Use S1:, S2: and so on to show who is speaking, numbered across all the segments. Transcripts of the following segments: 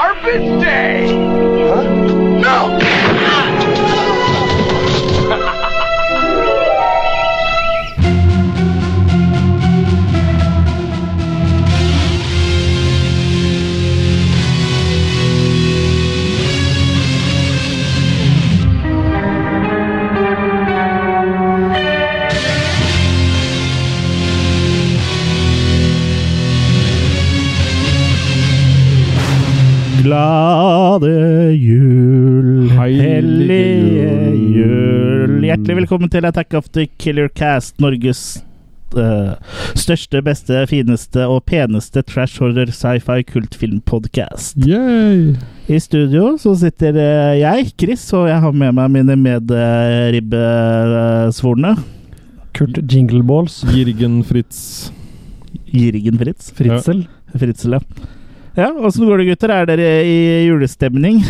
S1: Muffin Day! Huh? No!
S2: Glade jul,
S3: Heilige
S2: hellige
S3: jul.
S2: jul. Hjertelig velkommen til Attack of the Killer Cast, Norges eh, største, beste, fineste og peneste trash horror sci-fi kultfilmpodcast.
S3: Yay!
S2: I studio så sitter eh, jeg, Chris, og jeg har med meg mine medribbesvorne.
S4: Kurt Jingleballs.
S3: Jirgen Fritz.
S2: Jirgen Fritz.
S4: Fritzel.
S2: Fritzel, ja. Ja, Åssen går det, gutter? Er dere i julestemning?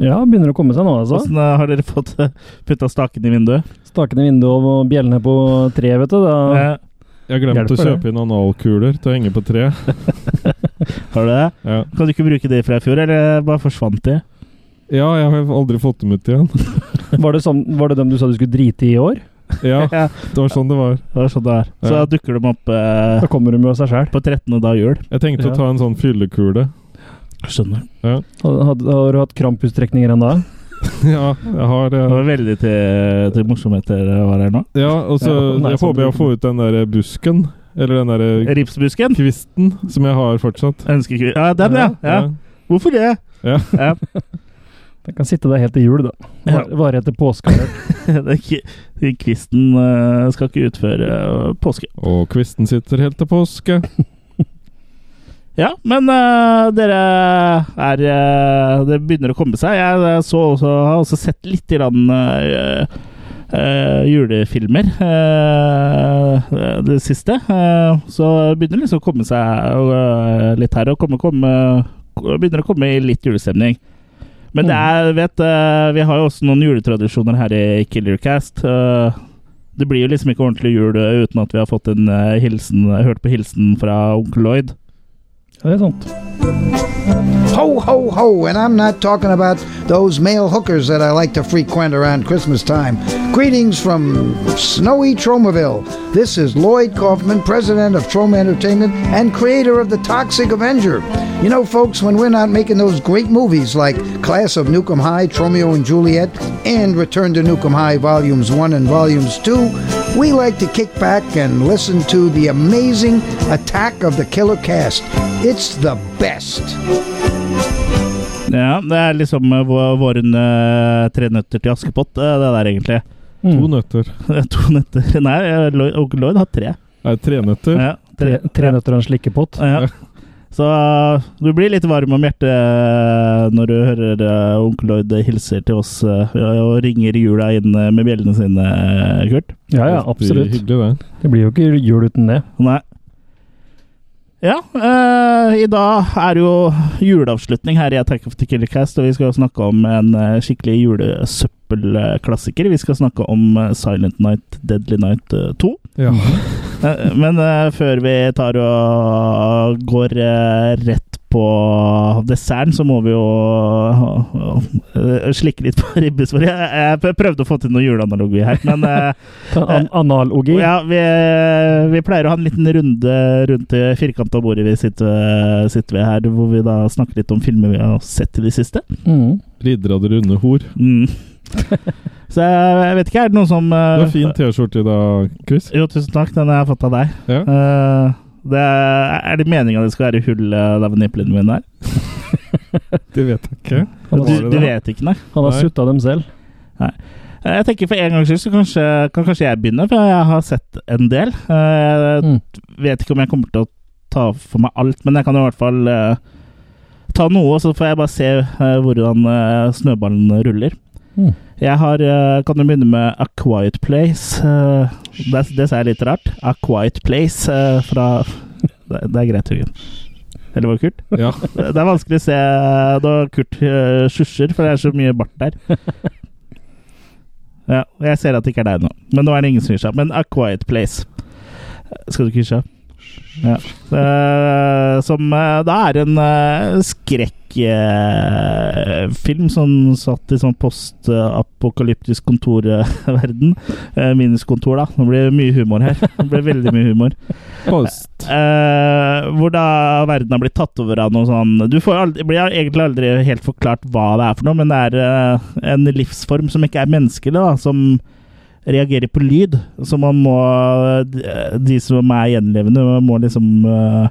S4: Ja, begynner å komme seg nå, altså.
S2: Åssen eh, har dere fått putta staken i vinduet?
S4: Stakene i vinduet og bjellene på treet, vet du. Da.
S2: Ja.
S3: Jeg har glemt å
S4: Hjelper
S3: kjøpe inn analkuler til å henge på tre.
S2: Har du det?
S3: Ja.
S2: Kan du ikke bruke det fra i fjor, eller bare forsvant de?
S3: ja, jeg har aldri fått dem ut igjen.
S4: Var, det sånn, var det dem du sa du skulle drite i i år?
S3: Ja,
S2: Ja,
S3: det var sånn det var.
S2: det var sånn det er. Så
S3: Ja.
S2: da dukker de opp eh,
S4: Da kommer de med seg sjæl.
S2: på 13. dag jul.
S3: Jeg tenkte
S4: Ja.
S3: å ta en sånn fyllekule.
S2: Skjønner.
S4: Har har du hatt krampustrekninger ennå?
S3: Ja, jeg har
S2: Det
S3: eh,
S2: var veldig til, til morsomheter det var her nå.
S3: Ja, og så
S4: Ja, nei,
S3: jeg
S4: sånn-
S3: håper jeg får ut den der eh, busken. Eller den der eh,
S2: Ripsbusken?
S3: kvisten som jeg har fortsatt.
S2: Ønskekvist. Ja, den, ja. ja. Hvorfor det?
S3: Ja.
S4: Den kan sitte der helt til jul, da.
S2: Ja.
S4: Var- Varer etter påske.
S2: Det er ikke- den Kvisten eh, skal ikke utføre eh, påske.
S3: Og kvisten sitter helt til påske.
S2: Ja, men eh, dere er eh, Det begynner å komme seg. Jeg eh, så også, har også sett litt grann, eh, eh, julefilmer eh, det siste. Eh, så begynner liksom å komme seg eh, litt her. Og komme, komme, begynner å komme i litt julestemning. Men det er, vet, eh, vi har jo også noen juletradisjoner her i Killercast. eh, det blir jo liksom ikke ordentlig jul eh, uten at vi har fått en eh, hilsen, hørt på hilsen fra onkel Lloyd.
S4: Ja, det er sant.
S5: Ho, ho, ho, and I'm not talking about those male hookers that I like to frequent around Christmas time. Greetings from snowy Tromaville. This is Lloyd Kaufman, president of Troma Entertainment and creator of The Toxic Avenger. You know, folks, when we're not making those great movies like Class of Nukem High, Tromeo and Juliet, and Return to Nukem High Volumes 1 and Volumes 2, we like to kick back and listen to the amazing Attack of the Killer Cast. It's the best.
S2: Ja, det er liksom eh, vå- våren eh, tre nøtter til Askepott, eh, det der egentlig.
S3: To
S4: Mm.
S3: nøtter.
S2: to nøtter Nei, eh, Lloyd- onkel Lloyd har tre.
S3: Nei, tre nøtter.
S2: Ja,
S4: Tre, tre nøtter og en slikkepott.
S2: Ja. Så eh, du blir litt varm om hjertet eh, når du hører eh, onkel Lloyd hilser til oss eh, og ringer jula inn eh, med bjellene sine, eh, Kurt.
S4: Ja, ja,
S3: Det blir
S4: absolutt.
S3: Hyggelig, det.
S4: Det blir jo ikke jul uten det.
S2: Nei. Ja, eh, i dag er det jo juleavslutning her i Attack of the Killer Cast, og vi skal jo snakke om en eh, skikkelig julesøppelklassiker. Vi skal snakke om eh, Silent Night, Deadly Night eh, 2.
S3: Ja.
S2: Eh, Men eh, før vi tar og går eh, rett på desserten, så må vi jo eh, slikke litt på ribbesvor. Jeg, jeg prøvde å få til noen juleanalogi her, men eh,
S4: Ta An Analogi.
S2: ja, vi, vi pleier å ha en liten runde rundt det firkanta bordet vi sitter, sitter ved her, hvor vi da snakker litt om filmer vi har sett i det siste.
S4: Mm.
S3: Ridder av det runde hor.
S2: Mm. Så jeg, jeg vet ikke, er det noen som eh,
S3: Du har fin T-skjorte i dag, Chris.
S2: Jo, tusen takk, den har jeg fått av deg.
S3: Ja.
S2: Eh, det er, er det meninga det skal være hull eh, der hvor nipplene mine er?
S3: Det vet jeg ikke.
S4: Han
S2: Du,
S4: har,
S3: det
S2: du
S3: da?
S2: vet ikke, nei?
S4: han har
S3: Nei.
S4: sutta dem selv.
S2: Eh, Jeg tenker For en gangs skyld så kanskje, kan kanskje jeg begynne, for jeg har sett en del. Eh, Jeg
S4: Mm.
S2: vet ikke om jeg kommer til å ta for meg alt, men jeg kan i hvert fall eh, ta noe, så får jeg bare se eh, hvordan eh, snøballen ruller.
S4: Mm.
S2: Jeg har, eh, kan jo begynne med A Quiet Place. eh, det, det sa jeg litt rart. A Quiet Place eh, fra det, det er greit, Jørgen. Eller var det Kurt?
S3: Ja.
S2: Det det er vanskelig å se da Kurt uh, susjer, for det er så mye bart der. Ja, og jeg ser at det ikke er deg nå, men nå er det ingen som gir seg. Men A Quiet Place. Skal du ikke gi seg? Eh, som eh, da er en eh, skrekkfilm film som satt i sånn postapokalyptisk kontorverden. Eh, minuskontor, da. Det blir mye humor her. Det blir veldig mye humor.
S3: Post.
S2: Eh, hvor da verden har blitt tatt over av noe sånn Du får aldri, blir egentlig aldri helt forklart hva det er for noe, men det er eh, en livsform som ikke er menneskelig, da, som reagerer på lyd. Så man må de- De som er gjenlevende, må liksom eh,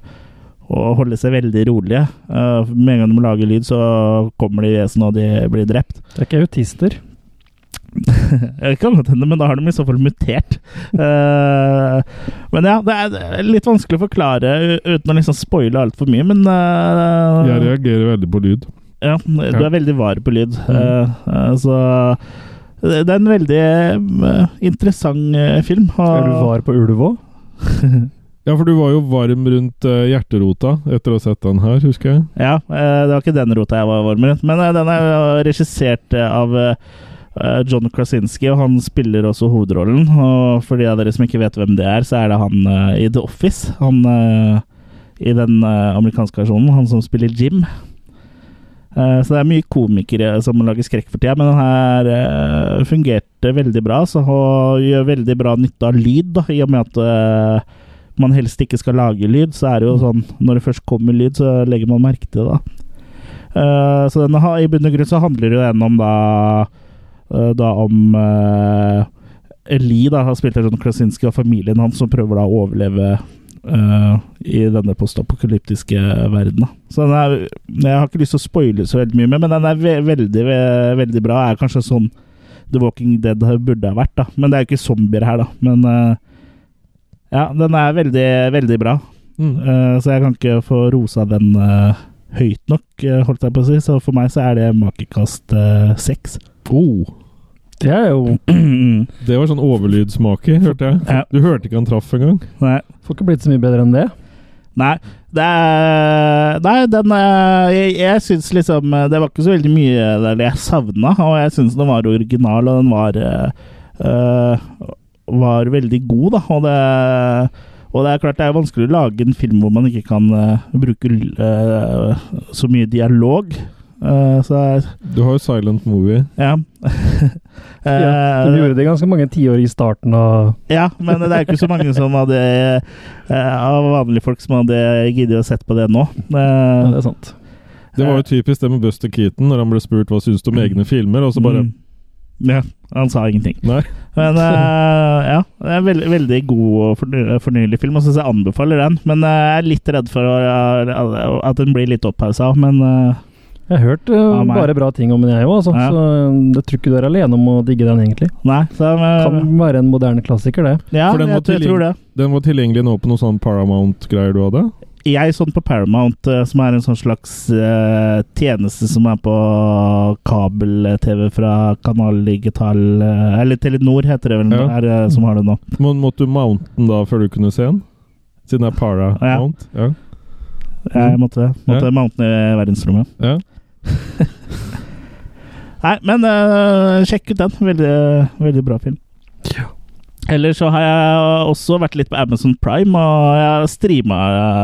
S2: å holde seg veldig rolige. Eh, med en gang de lager lyd, så kommer de vesen, og de blir drept.
S4: Det er ikke autister.
S2: Det kan godt hende, men da har de i så fall mutert. Eh, men ja, det er litt vanskelig å forklare u- uten å liksom spoile altfor mye, men eh,
S3: Jeg reagerer veldig på lyd.
S2: ja, du
S3: Ja.
S2: er veldig var på lyd.
S4: Mm.
S2: Eh, eh, så det det er en veldig eh, interessant eh, film.
S4: Er du var på Ulvå?
S3: Ja, for du var jo varm rundt eh, hjerterota etter å ha sett den her, husker jeg.
S2: Ja, eh, det var ikke den rota jeg var varm rundt, men eh, den er eh, regissert eh, av eh, John Krasinski, og han spiller også hovedrollen. Og for de av dere som ikke vet hvem det er, så er det han eh, i The Office. Han eh, i den eh, amerikanske versjonen, han som spiller Jim. Eh, Så det er mye komikere som lager skrekk for tida, men den her eh, fungerte veldig bra. Så og gjør veldig bra nytte av lyd, da, i og med at eh, man helst ikke skal lage lyd, så er det jo sånn Når det først kommer lyd, så legger man merke til det, da. Eh, så den, ha- i bunn og grunn så handler det jo den om da eh, Da om uh, Lee, da, har spilt av John Krasinski, og familien hans som prøver da å overleve eh, i denne postapokalyptiske verden. Da. Så den er Jeg har ikke lyst til å spoile så veldig mye, med, men den er ve veldig, ve veldig bra. Er kanskje sånn The Walking Dead har- burde ha vært, da. Men det er jo ikke zombier her, da. Men eh, ja, den er veldig, veldig bra.
S3: Mm.
S2: Eh, så jeg kan ikke få rosa den eh, høyt nok, eh, holdt jeg på å si. Så for meg så er det makekast eh, seks. Mm.
S3: Oh,
S4: Det er jo
S2: Nei.
S3: det var sånn overlydsmaker, hørte
S2: Ja.
S3: jeg. Du hørte ikke han traff engang.
S4: Får ikke blitt så mye bedre enn det.
S2: Nei, det er, nei den er, Jeg, jeg syns liksom eh, Det var ikke så veldig mye der jeg savna, og jeg syns den var original, og den var eh, eh, Var veldig god, da. Og det, og det er klart det er vanskelig å lage en film hvor man ikke kan eh, bruke eh, så mye dialog. Eh, så jeg
S3: Du har jo silent movie.
S2: Ja.
S4: Ja, de
S2: Eh,
S4: gjorde det ganske mange tiår i starten av
S2: ja, men det er ikke så mange som hadde eh, av vanlige folk som hadde giddet å sett på det nå.
S4: ja,
S2: Eh,
S4: Det er sant.
S3: Det var jo typisk det med Buster Keaton, når han ble spurt hva syns du om egne filmer, og så bare
S2: mm. Ja, han sa ingenting.
S3: Nei.
S2: Men eh, ja, det er en veldig, veldig god og forny- fornyelig film, og syns jeg anbefaler den. Men eh, jeg er litt redd for å- at den blir litt opphausa, men eh,
S4: Jeg har hørt eh,
S2: Ja, meg.
S4: bare bra ting om den, jeg òg, altså.
S2: Ja.
S4: Så eh, jeg tror ikke du er alene om å digge den, egentlig.
S2: nei. Så, eh,
S4: Kan være en moderne klassiker, det.
S2: ja,
S3: for den
S2: jeg,
S3: var
S2: jeg tror det.
S3: Den var tilgjengelig nå på noen sånn Paramount-greier du hadde?
S2: jeg sånn på Paramount, eh, som er en sånn slags eh, tjeneste som er på kabel-TV fra Kanal Digital eh, Eller Telenor heter det vel,
S3: Ja.
S2: er, det som har det nå.
S3: Men måtte du mounte den da før du kunne se den? Siden det er Paramount? Ja.
S2: Jeg måtte, måtte
S3: Mm. Ja.
S2: mounte ned i verdensrommet.
S3: ja.
S2: Nei, men eh, sjekk ut den. Veldig, veldig bra film. Ellers så har jeg også vært litt på Amazon Prime, og jeg streama,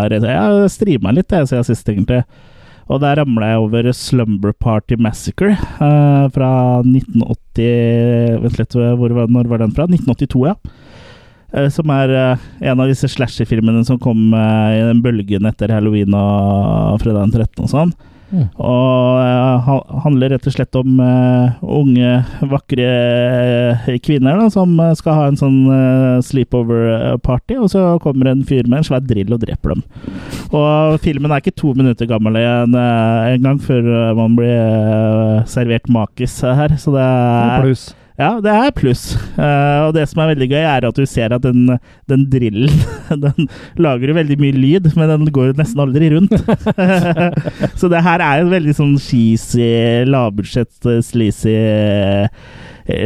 S2: jeg streama litt jeg, siden sist, egentlig. Og der ramla jeg over Slumber Party Massacre eh, fra 1980 Vent litt, hvor, var- når var den fra? 1982, ja. Eh, som er eh, en av disse slasherfilmene som kom eh, i den bølgen etter halloween og fredag den 13. og sånn.
S4: Mm.
S2: Og eh, ha- handler rett og slett om eh, unge, vakre eh, kvinner da, som eh, skal ha en sånn sleepover-party, og så kommer en fyr med en svær drill og dreper dem. Og filmen er ikke to minutter gammel igjen eh, en gang før eh, man blir eh, servert makis her, så det er
S4: Pluss.
S2: ja, det er pluss. Eh, og det som er veldig gøy, er at du ser at den, den drillen Den lager jo veldig mye lyd, men den går jo nesten aldri rundt. så det her er jo en veldig sånn cheesy, lavbudsjett, eh, sleazy eh,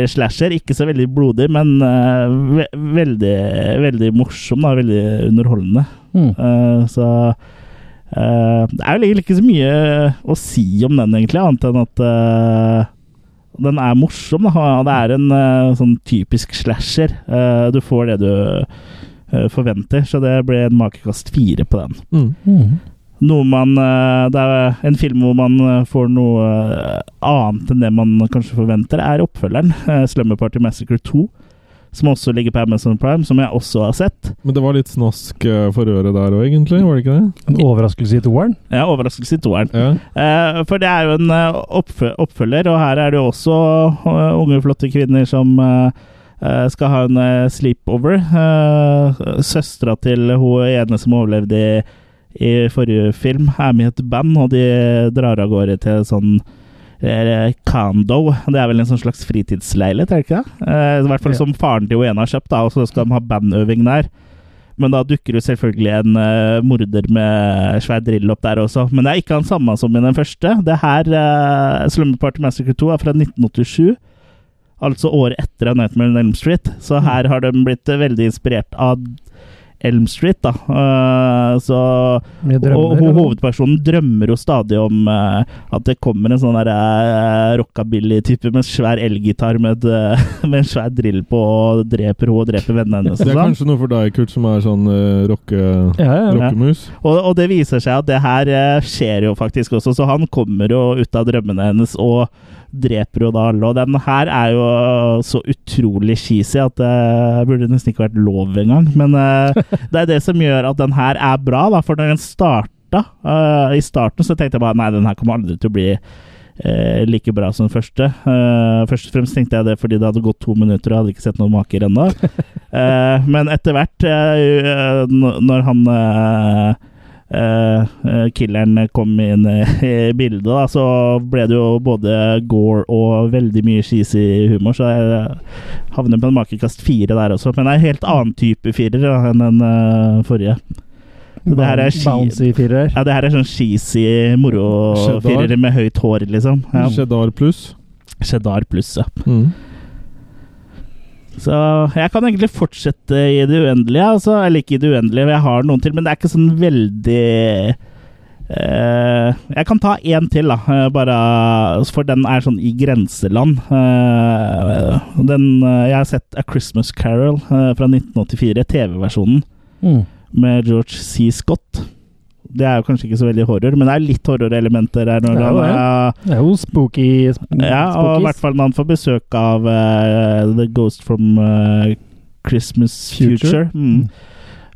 S2: slasher. Ikke så veldig blodig, men eh, ve veldig, veldig morsom. Da, veldig underholdende.
S4: Mm.
S2: Eh, så eh, Det er vel egentlig ikke så mye eh, å si om den, egentlig, annet enn at eh, den er morsom. Da. Det er en eh, sånn typisk slasher. Eh, du får det du eh, forventer, så det ble en makekast fire på den.
S3: Mm.
S4: Mm.
S2: Noe man eh, Det er en film hvor man eh, får noe eh, annet enn det man kanskje forventer, er oppfølgeren, eh, 'Slumber Party Massacre 2', som også ligger på Amazon Prime, som jeg også har sett.
S3: Men det var litt snask eh, for øret der òg, egentlig? Var det ikke det?
S4: En overraskelse i toeren.
S2: Ja, overraskelse i toeren.
S3: Ja.
S2: Eh, for det er jo en eh, oppfø oppfølger, og her er det jo også eh, unge, flotte kvinner som eh, eh, skal ha en eh, sleepover. Uh, Søstera til hun ene som overlevde i, i forrige film, er med i et band, og de drar av gårde til sånn eh, Condo. Det er vel en sånn slags fritidsleilighet, er det ikke det? Eh, I hvert fall
S4: Ja.
S2: som faren til hun ene har kjøpt, da, og så skal de ha bandøving der. Men da dukker jo selvfølgelig en eh, morder med svær drill opp der også. Men det er ikke han samme som i den første. Det her, uh, Slumber Party Massacre 2, er fra 1987. Altså året etter A Nightmare on Elm Street. Så
S3: Mm.
S2: her har de blitt eh, veldig inspirert av Elm Street, da. Eh, så
S4: Mye drømmer.
S2: og ho
S4: eller?
S2: hovedpersonen drømmer jo stadig om eh, at det kommer en sånn der, eh, rockabilly-type med svær elgitar med, et, eh, med en svær drill på og dreper henne og dreper vennene hennes.
S3: Det
S2: og
S3: er
S2: sånn.
S3: kanskje noe for deg, Kurt, som er sånn eh, rocke,
S4: ja, ja, ja.
S3: rockemus?
S2: Og, og det viser seg at det her eh, skjer jo faktisk også, så han kommer jo ut av drømmene hennes og dreper jo da alle. Og den her er jo så utrolig cheesy at det burde nesten ikke vært lov engang. Men eh, det er det som gjør at den her er bra, da, for når den starta eh, i starten, så tenkte jeg bare nei, den her kommer aldri til å bli eh, like bra som den første. Eh, først og fremst tenkte jeg det fordi det hadde gått to minutter og jeg hadde ikke sett noen maker ennå. Eh, men etter hvert, eh, n- når han eh, eh, eh, killeren kom inn eh, i bildet, da, så ble det jo både gore og veldig mye cheesy humor, så jeg eh, havner på en makekast fire der også. Men det er en helt annen type firer da, enn den eh, forrige. Det her er ski-
S4: Bouncy firer.
S2: Ja, det her er sånn cheesy moro-firer
S3: Cheddar.
S2: med høyt hår, liksom. Ja.
S3: Cheddar pluss?
S2: Cheddar pluss, ja.
S3: Mm.
S2: Så jeg kan egentlig fortsette i det uendelige, altså, eller ikke i det uendelige, for jeg har noen til, men det er ikke sånn veldig eh, Jeg kan ta én til, da, eh, bare for den er sånn i grenseland. Eh, den eh, Jeg har sett A Christmas Carol eh, fra 1984, TV-versjonen,
S4: Mm.
S2: med George C. Scott. Det er jo kanskje ikke så veldig horror, men det er litt horrorelementer her. Når
S4: Det er
S2: han
S4: jo det.
S2: er,
S4: Det er jo spooky sp
S2: ja, og i hvert
S4: spookies.
S2: fall når han får besøk av eh, The Ghost from eh, Christmas Future.
S4: Future.
S2: Mm.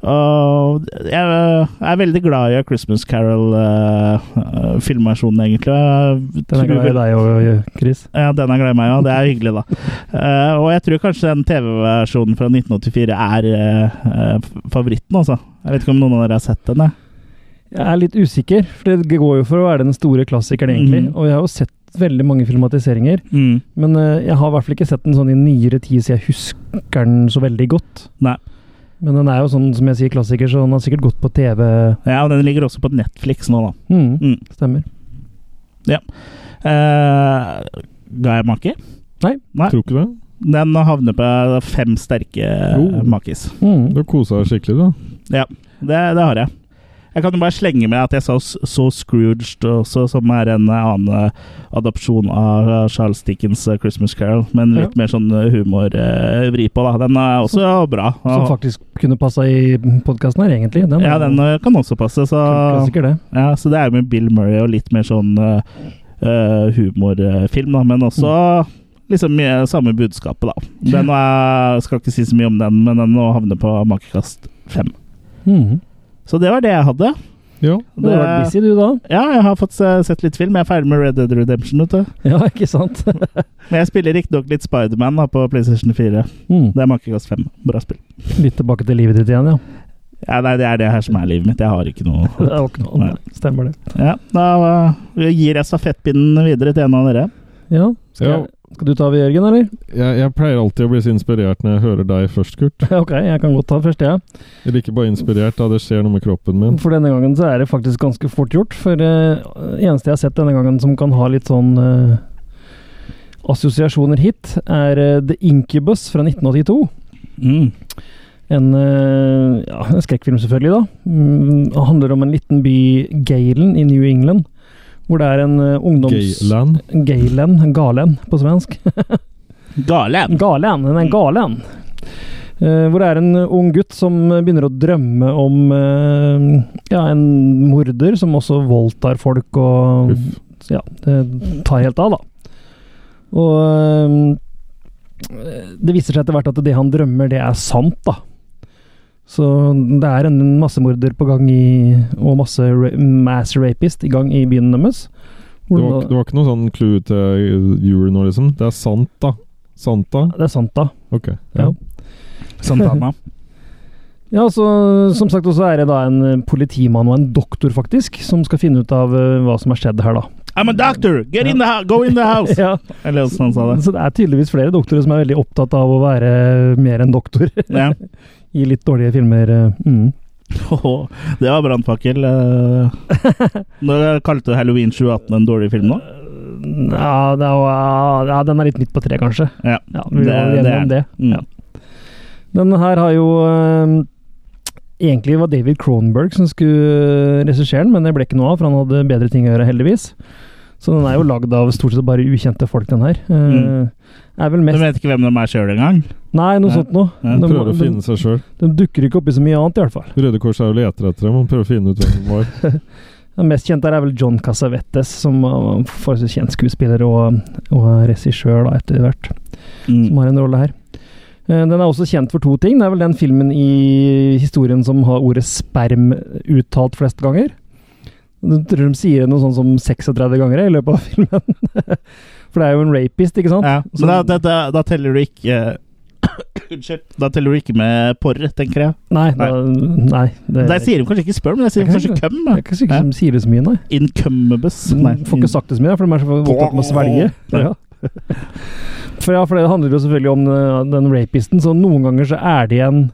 S2: Og jeg eh, er veldig glad i A Christmas Carol-filmversjonen, egentlig. Jeg
S4: Den er
S2: tror
S4: glad i
S2: vel-
S4: deg òg, Chris.
S2: Ja, den er glad i meg òg. Det er hyggelig, da. Eh, og jeg tror kanskje den TV-versjonen fra 1984 er eh, eh, favoritten, altså. Jeg vet ikke om noen av dere har sett den? jeg.
S4: Jeg er litt usikker, for det går jo for å være den store klassikeren, egentlig.
S2: Mhm.
S4: Og jeg har jo sett veldig mange filmatiseringer,
S2: Mm.
S4: men eh, jeg har i hvert fall ikke sett den sånn i nyere tid, så jeg husker den så veldig godt.
S2: Nei.
S4: Men den er jo sånn, som jeg sier, klassiker, så den har sikkert gått på TV.
S2: Ja, og den ligger også på Netflix nå, da.
S4: Mm,
S2: Mm.
S4: Stemmer.
S2: Uh, ga jeg make? Nei.
S3: Tror ikke det?
S2: Den havner på fem sterke
S3: Jo.
S2: makis.
S4: Mm.
S3: Du kosa deg skikkelig, da.
S2: Det, det har jeg. Jeg kan jo bare slenge med at jeg sa s- så Scrooged også, som er en eh, annen eh, adopsjon av eh, Charles Dickens' eh, 'Christmas Carol', men litt mer sånn humorvri på, da. Den er også bra.
S4: Som faktisk kunne passa i podkasten her, egentlig. Den er
S2: ja,
S4: jo
S2: den eh, kan også passe, så
S4: klassiker, det.
S2: ja, Så det er med Bill Murray og litt mer sånn eh, eh, humorfilm, da, men også liksom mye samme budskapet, da. Den er, skal ikke si så mye om den, men den nå havner på makekast fem.
S4: Mhm.
S2: Så det var det jeg hadde.
S3: Ja.
S4: Du har vært busy, du da?
S2: ja, jeg har fått se, sett litt film. Jeg er ferdig med Red Dead Redemption. Vet du.
S4: Ja, ikke sant?
S2: Men jeg spiller riktignok litt Spiderman da, på PlayStation 4.
S4: Mm.
S2: Det er makekast 5. Bra spill.
S4: Litt tilbake til livet ditt igjen, ja.
S2: Ja, nei, det er det her som er livet mitt. Jeg har ikke noe
S4: Det er jo ikke noe
S2: Nei.
S4: annet. Stemmer det.
S2: Ja, Da eh, gir jeg stafettpinnen videre til en av dere.
S4: Ja. Skal,
S3: Ja.
S4: jeg, skal du ta over, Jørgen, eller?
S3: Jeg, jeg pleier alltid å bli så inspirert når jeg hører deg først, Kurt.
S4: ok, jeg kan godt ta først, jeg.
S3: Eller ikke bare inspirert, da det skjer noe med kroppen min.
S4: For denne gangen så er det faktisk ganske fort gjort. For det eneste jeg har sett denne gangen som kan ha litt sånn eh, assosiasjoner hit, er eh, The Incubus fra 1982.
S2: Mm.
S4: En, eh, ja, en skrekkfilm, selvfølgelig. da. Mm, det handler om en liten by, Galen, i New England. Hvor det er en eh, ungdoms...
S3: Gayland.
S4: Galen. Galen, på svensk.
S2: Gale!
S3: Mm.
S4: Galen, den er galen. Eh, hvor det er en ung gutt som begynner å drømme om eh, ja, en morder som også voldtar folk og
S3: Uff.
S4: ja, eh, tar helt av, da. Og eh, det viser seg etter hvert at det han drømmer, det er sant, da. Så det er en massemorder på gang i, og masse ra mass rapist i gang i byen deres. Hvor
S3: Det var,
S4: da-
S3: det var ikke noe sånn clue til jul nå, liksom? Det er sant, da. Sant, da?
S4: det er sant, da.
S3: Ok.
S4: Ja.
S2: Santana.
S4: Ja, så som sagt også er det da en eh, politimann og en doktor, faktisk, som skal finne ut av eh, hva som har skjedd her, da.
S2: I'm a doctor! Get in the house! Go in the house!
S4: Ja,
S2: Eller hvordan Altså, han sa det.
S4: så det er tydeligvis flere doktorer som er veldig opptatt av å være eh, mer enn doktor
S2: Ja.
S4: i litt dårlige filmer. eh, Mm.
S2: Åhå, Det var brannfakkel. eh. Når kalte du Halloween 2018 en dårlig film nå?
S4: Eh, Ja, det var, ja, den er litt midt på tre, kanskje.
S2: Ja.
S4: Ja, vi
S2: Det-
S4: var
S2: det er
S4: enige om det.
S2: Mm.
S4: Ja. Den her har jo eh, Egentlig var David Cronenberg som skulle eh, regissere den, men det ble ikke noe av, for han hadde bedre ting å gjøre, heldigvis. Så den er jo lagd av stort sett bare ukjente folk, den her.
S3: Mm.
S4: Eh, Er vel
S2: Du
S4: mest
S2: vet ikke hvem de er sjøl engang?
S4: Nei, noe
S2: Nei.
S4: sånt noe.
S2: Nei,
S4: Den,
S3: Prøver å
S4: den,
S3: finne seg sjøl.
S4: den dukker ikke opp i så mye annet, i hvert fall.
S3: Røde Kors er jo leter etter dem og prøver å finne ut hvem de var.
S4: Den mest kjente her er vel John Cassavetes, som var en forholdsvis kjent skuespiller og, og regissør da, etter hvert. som
S2: Mm.
S4: har en rolle her. Eh, Den er også kjent for to ting. Det er vel den filmen i historien som har ordet sperm uttalt flest ganger. Jeg tror de sier det noe sånn som 36 ganger i løpet av filmen. For det er jo en rapist, ikke sant?
S2: Ja. Men da, da, da, da teller du ikke eh, Unnskyld. Da teller du ikke med porr, tenker jeg.
S4: Nei, da, nei. Det,
S2: Der sier de kanskje ikke sperm, men der sier de kanskje cum.
S4: det
S2: da. Mm.
S4: er ikke sikkert som sier det så mye, nei.
S2: Incumbus. Nei.
S4: Får
S3: Mm.
S4: ikke sagt det så mye, da, for de er så opptatt med å svelge. Ja. For, ja, for det handler jo selvfølgelig om eh, den rapisten, så noen ganger så er det igjen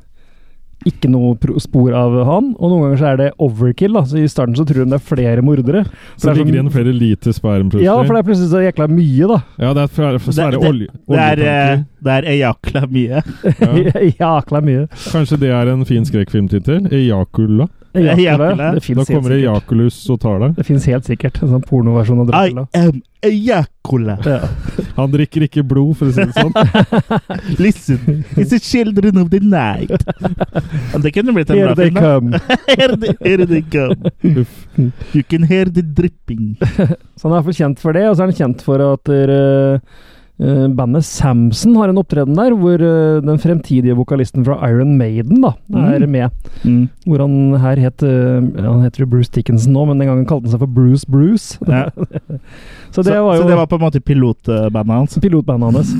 S4: ikke noe pro- spor av han, og noen ganger så er det overkill. da, så I starten så tror de det er flere mordere.
S3: Så det ligger
S4: det er sånn-
S3: igjen flere liter sperm plutselig.
S4: Ja, for det er plutselig så jækla mye, da.
S3: Ja, det er flere, for svære
S2: Det- det-
S3: olje,
S2: Det er, eh,
S3: oljetanker.
S2: det er ejakla mye.
S3: Ja.
S4: Jækla mye.
S3: Kanskje det er en fin skrekkfilmtittel? Ejakula.
S2: Ejakula.
S4: Det
S3: Da
S4: fins helt
S3: kommer
S4: sikkert.
S3: Ejakulus og tar deg.
S4: Det finnes helt sikkert en sånn pornoversjon av
S2: I
S4: Dracula.
S2: am ejakula.
S4: Ja.
S3: Han drikker ikke blod, for å si det sånn.
S2: Listen, it's the children of the night. Det kunne blitt en bra
S4: Here they
S2: film. da.
S4: come.
S2: Here they, here they come.
S3: Uff.
S2: You can hear the dripping.
S4: Så han er iallfall kjent for det, og så er han kjent for at eh, eh, bandet Samson har en opptreden der, hvor eh, den fremtidige vokalisten fra Iron Maiden da, er
S2: Mm.
S4: med. Hvor han her het eh, Han heter jo Bruce Dickinson nå, men den gangen kalte han seg for Bruce Bruce.
S2: Ja.
S4: Så det
S2: så,
S4: var jo
S2: så det var på en måte pilotbandet hans?
S4: pilotbandet hans.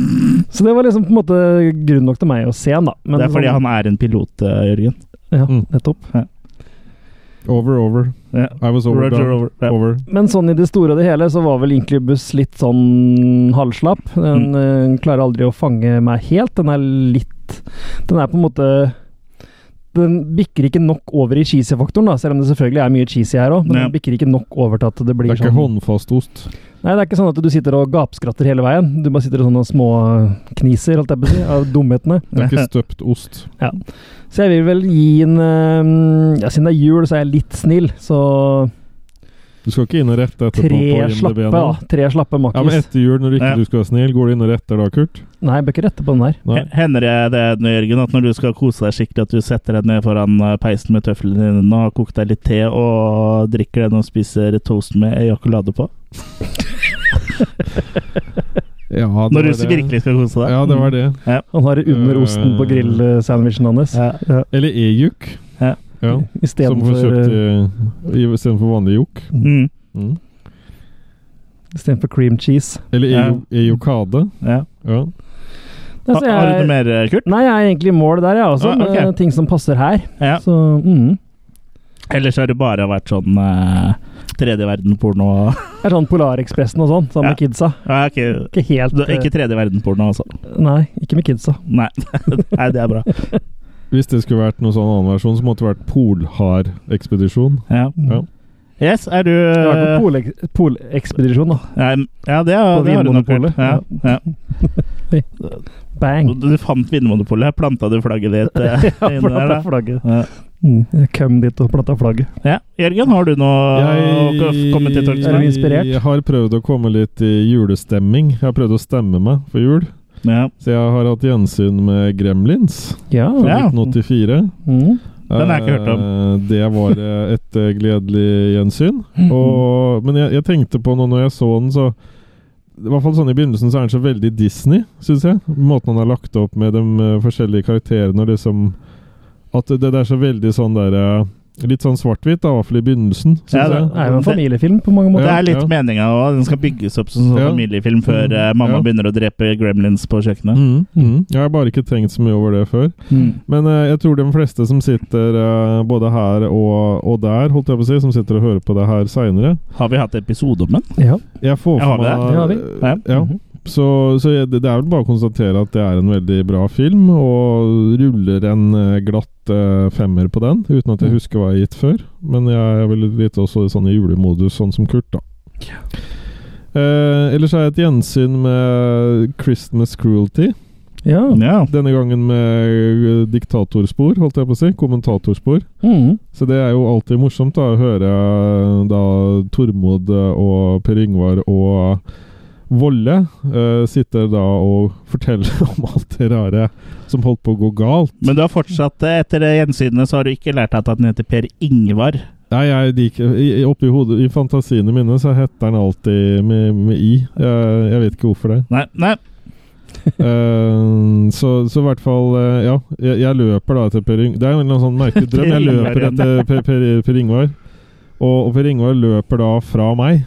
S4: Så det var liksom på en måte grunn nok til meg å se han, da. Men
S2: det er fordi
S4: sånn-
S2: han er en pilot, eh, Jørgen.
S4: Ja,
S3: Mm.
S4: nettopp.
S3: Over, over.
S2: Ja.
S3: I was over.
S2: Roger,
S3: down.
S2: over. Ja.
S3: over.
S4: Men sånn i det store og det hele så var vel Inklubuss litt sånn halvslapp. Den
S3: Mm.
S4: eh, klarer aldri å fange meg helt. Den er litt Den er på en måte Den bikker ikke nok over i cheesy-faktoren, da, selv om det selvfølgelig er mye cheesy her òg. Men
S2: Ja.
S4: den bikker ikke nok over til at det blir
S3: Det er ikke
S4: sånn
S3: håndfast ost.
S4: Nei, det er ikke sånn at du sitter og gapskratter hele veien. Du bare sitter og sånne små eh, kniser, holdt jeg på å si, av dumhetene.
S3: Det er ikke støpt ost.
S4: Så jeg vil vel gi en eh, Ja, siden det er jul, så er jeg litt snill. Så
S3: Du skal ikke inn og rette etterpå
S4: tre
S3: på
S4: slappe,
S3: IMDb
S4: da.
S3: nå.
S4: Tre slappe
S3: Ja, men
S4: makkis.
S3: etter jul, når du ikke
S2: Ja.
S3: du skal være snill, går du inn og retter da, Kurt?
S4: Nei, jeg bør ikke rette på den der.
S3: Nei.
S2: Hender det det, Jørgen, at når du skal kose deg skikkelig, at du setter deg ned foran eh, peisen med tøflene dine og har kokt deg litt te og drikker den og spiser toast med ejakulade på?
S3: Ja, det
S2: Når
S3: var
S2: du
S3: det.
S2: virkelig Mm. skal kose deg?
S3: Ja, det var det.
S4: Han har det under osten på
S3: Øh.
S4: grillsandwichen hans.
S2: Ja.
S3: Eller ejuk.
S2: Ja.
S3: ja. Som får
S4: Istedenfor
S3: kjøpt
S4: eh,
S3: i, i stedet for vanlig jok.
S2: Mm,
S3: Mm.
S4: istedenfor cream cheese.
S3: Eller
S2: Ja.
S3: ejo- ejokade.
S2: ja.
S3: Ja.
S4: Ja,
S2: Ha, har
S4: så
S2: du
S4: Altså,
S2: noe
S4: jeg-
S2: mer, eh, Kurt?
S4: Nei, jeg er egentlig i mål der, jeg også.
S2: Ah,
S4: med
S2: ok.
S4: Ting som passer her.
S2: Ja.
S4: Så mm.
S2: Ellers har det bare vært sånn eh, tredje verden-porno og
S4: Det er sånn Polarekspressen og sånn, sammen med
S2: Ja.
S4: kidsa.
S2: ja, ikke-
S4: Ikke helt
S2: du- Ikke
S4: eh,
S2: tredje verden-porno, altså.
S4: Nei, ikke med kidsa.
S2: Nei. Nei, det er bra.
S3: Hvis det skulle vært noen sånn annen versjon, så måtte det vært Polhar-ekspedisjon.
S2: Ja.
S3: Ja.
S2: Yes, er du
S4: Det har
S2: Eh.
S4: vært på polek- polekspedisjon, da.
S2: Nei, Ja, det, er,
S4: På
S2: det har du nok
S4: Vinmonopolet,
S2: gjort. Ja, ja.
S4: Bang!
S2: Du fant Vinmonopolet, planta du flagget ditt eh,
S4: Ja,
S2: inni der,
S4: planta
S2: da?
S4: flagget.
S2: Ja.
S4: Mm. Jeg Kom dit og planta flagget.
S2: Ja. Jørgen, har du noe å komme til torgs
S4: Er du
S2: med?
S4: inspirert?
S3: Jeg har prøvd å komme litt i julestemming. Jeg har prøvd å stemme meg for jul.
S2: Ja.
S3: Så jeg har hatt gjensyn med Gremlins
S4: Ja.
S3: fra
S2: Ja.
S3: 1984.
S4: Mm.
S2: Den har jeg ikke hørt om.
S3: Eh, Det var eh, et eh, gledelig gjensyn.
S2: Mhm.
S3: Og, men jeg, jeg tenkte på nå når jeg så den, så i hvert fall sånn I begynnelsen så er den så veldig Disney, syns jeg. Måten han har lagt opp med de eh, forskjellige karakterene og liksom At det, det er så veldig sånn derre Litt sånn svart-hvitt, da, i hvert fall i begynnelsen. Synes
S2: Ja,
S3: jeg. Mm,
S2: det-
S4: Det er jo en familiefilm på mange
S2: Det
S4: måter.
S2: er litt
S3: ja.
S2: meninga òg. Den skal bygges opp som en sånn
S3: Ja.
S2: familiefilm før
S3: Mm,
S2: eh, mamma
S3: ja.
S2: begynner å drepe gremlins på kjøkkenet.
S3: Mm, mm. Jeg har bare ikke tenkt så mye over det før.
S4: Mm.
S3: Men eh, jeg tror de fleste som sitter eh, både her og, og der, holdt jeg på å si, som sitter og hører på det her seinere
S2: Har vi hatt episode om den?
S4: Ja.
S3: Jeg får
S2: Ja, har
S3: for
S2: vi det?
S3: meg
S4: Det har vi.
S2: Ja. Mhm.
S3: Ja. Så, så jeg, det det er vel bare å konstatere at det er en veldig bra film, og ruller en eh, glatt eh, femmer på den, uten at jeg husker hva jeg har gitt før. Men jeg er vel litt også sånn i julemodus, sånn som Kurt, da. Eh, ellers er jeg et gjensyn med Christmas Cruelty.
S4: ja.
S2: Ja.
S3: Denne gangen med eh, diktatorspor, holdt jeg på å si. Kommentatorspor.
S4: Mm.
S3: Så det er jo alltid morsomt da, å høre eh, da Tormod eh, og Per Yngvar og Volle eh, sitter da og forteller om alt det rare som holdt på å gå galt.
S2: Men du har fortsatt, eh, etter det gjensynet, så har du ikke lært deg at den heter Per Ingvar.
S3: Nei, jeg liker, i, i- oppi hodet, i fantasiene mine så heter den alltid med, med i. Eh, jeg vet ikke hvorfor det.
S2: Nei, nei.
S3: Eh, så, så i hvert fall eh, Ja, jeg, jeg løper da etter Per Yngvar. Det er jo en eller annen sånn merkelig drøm. Jeg løper etter Per, per, per Yngvar, og, og Per Yngvar løper da fra meg.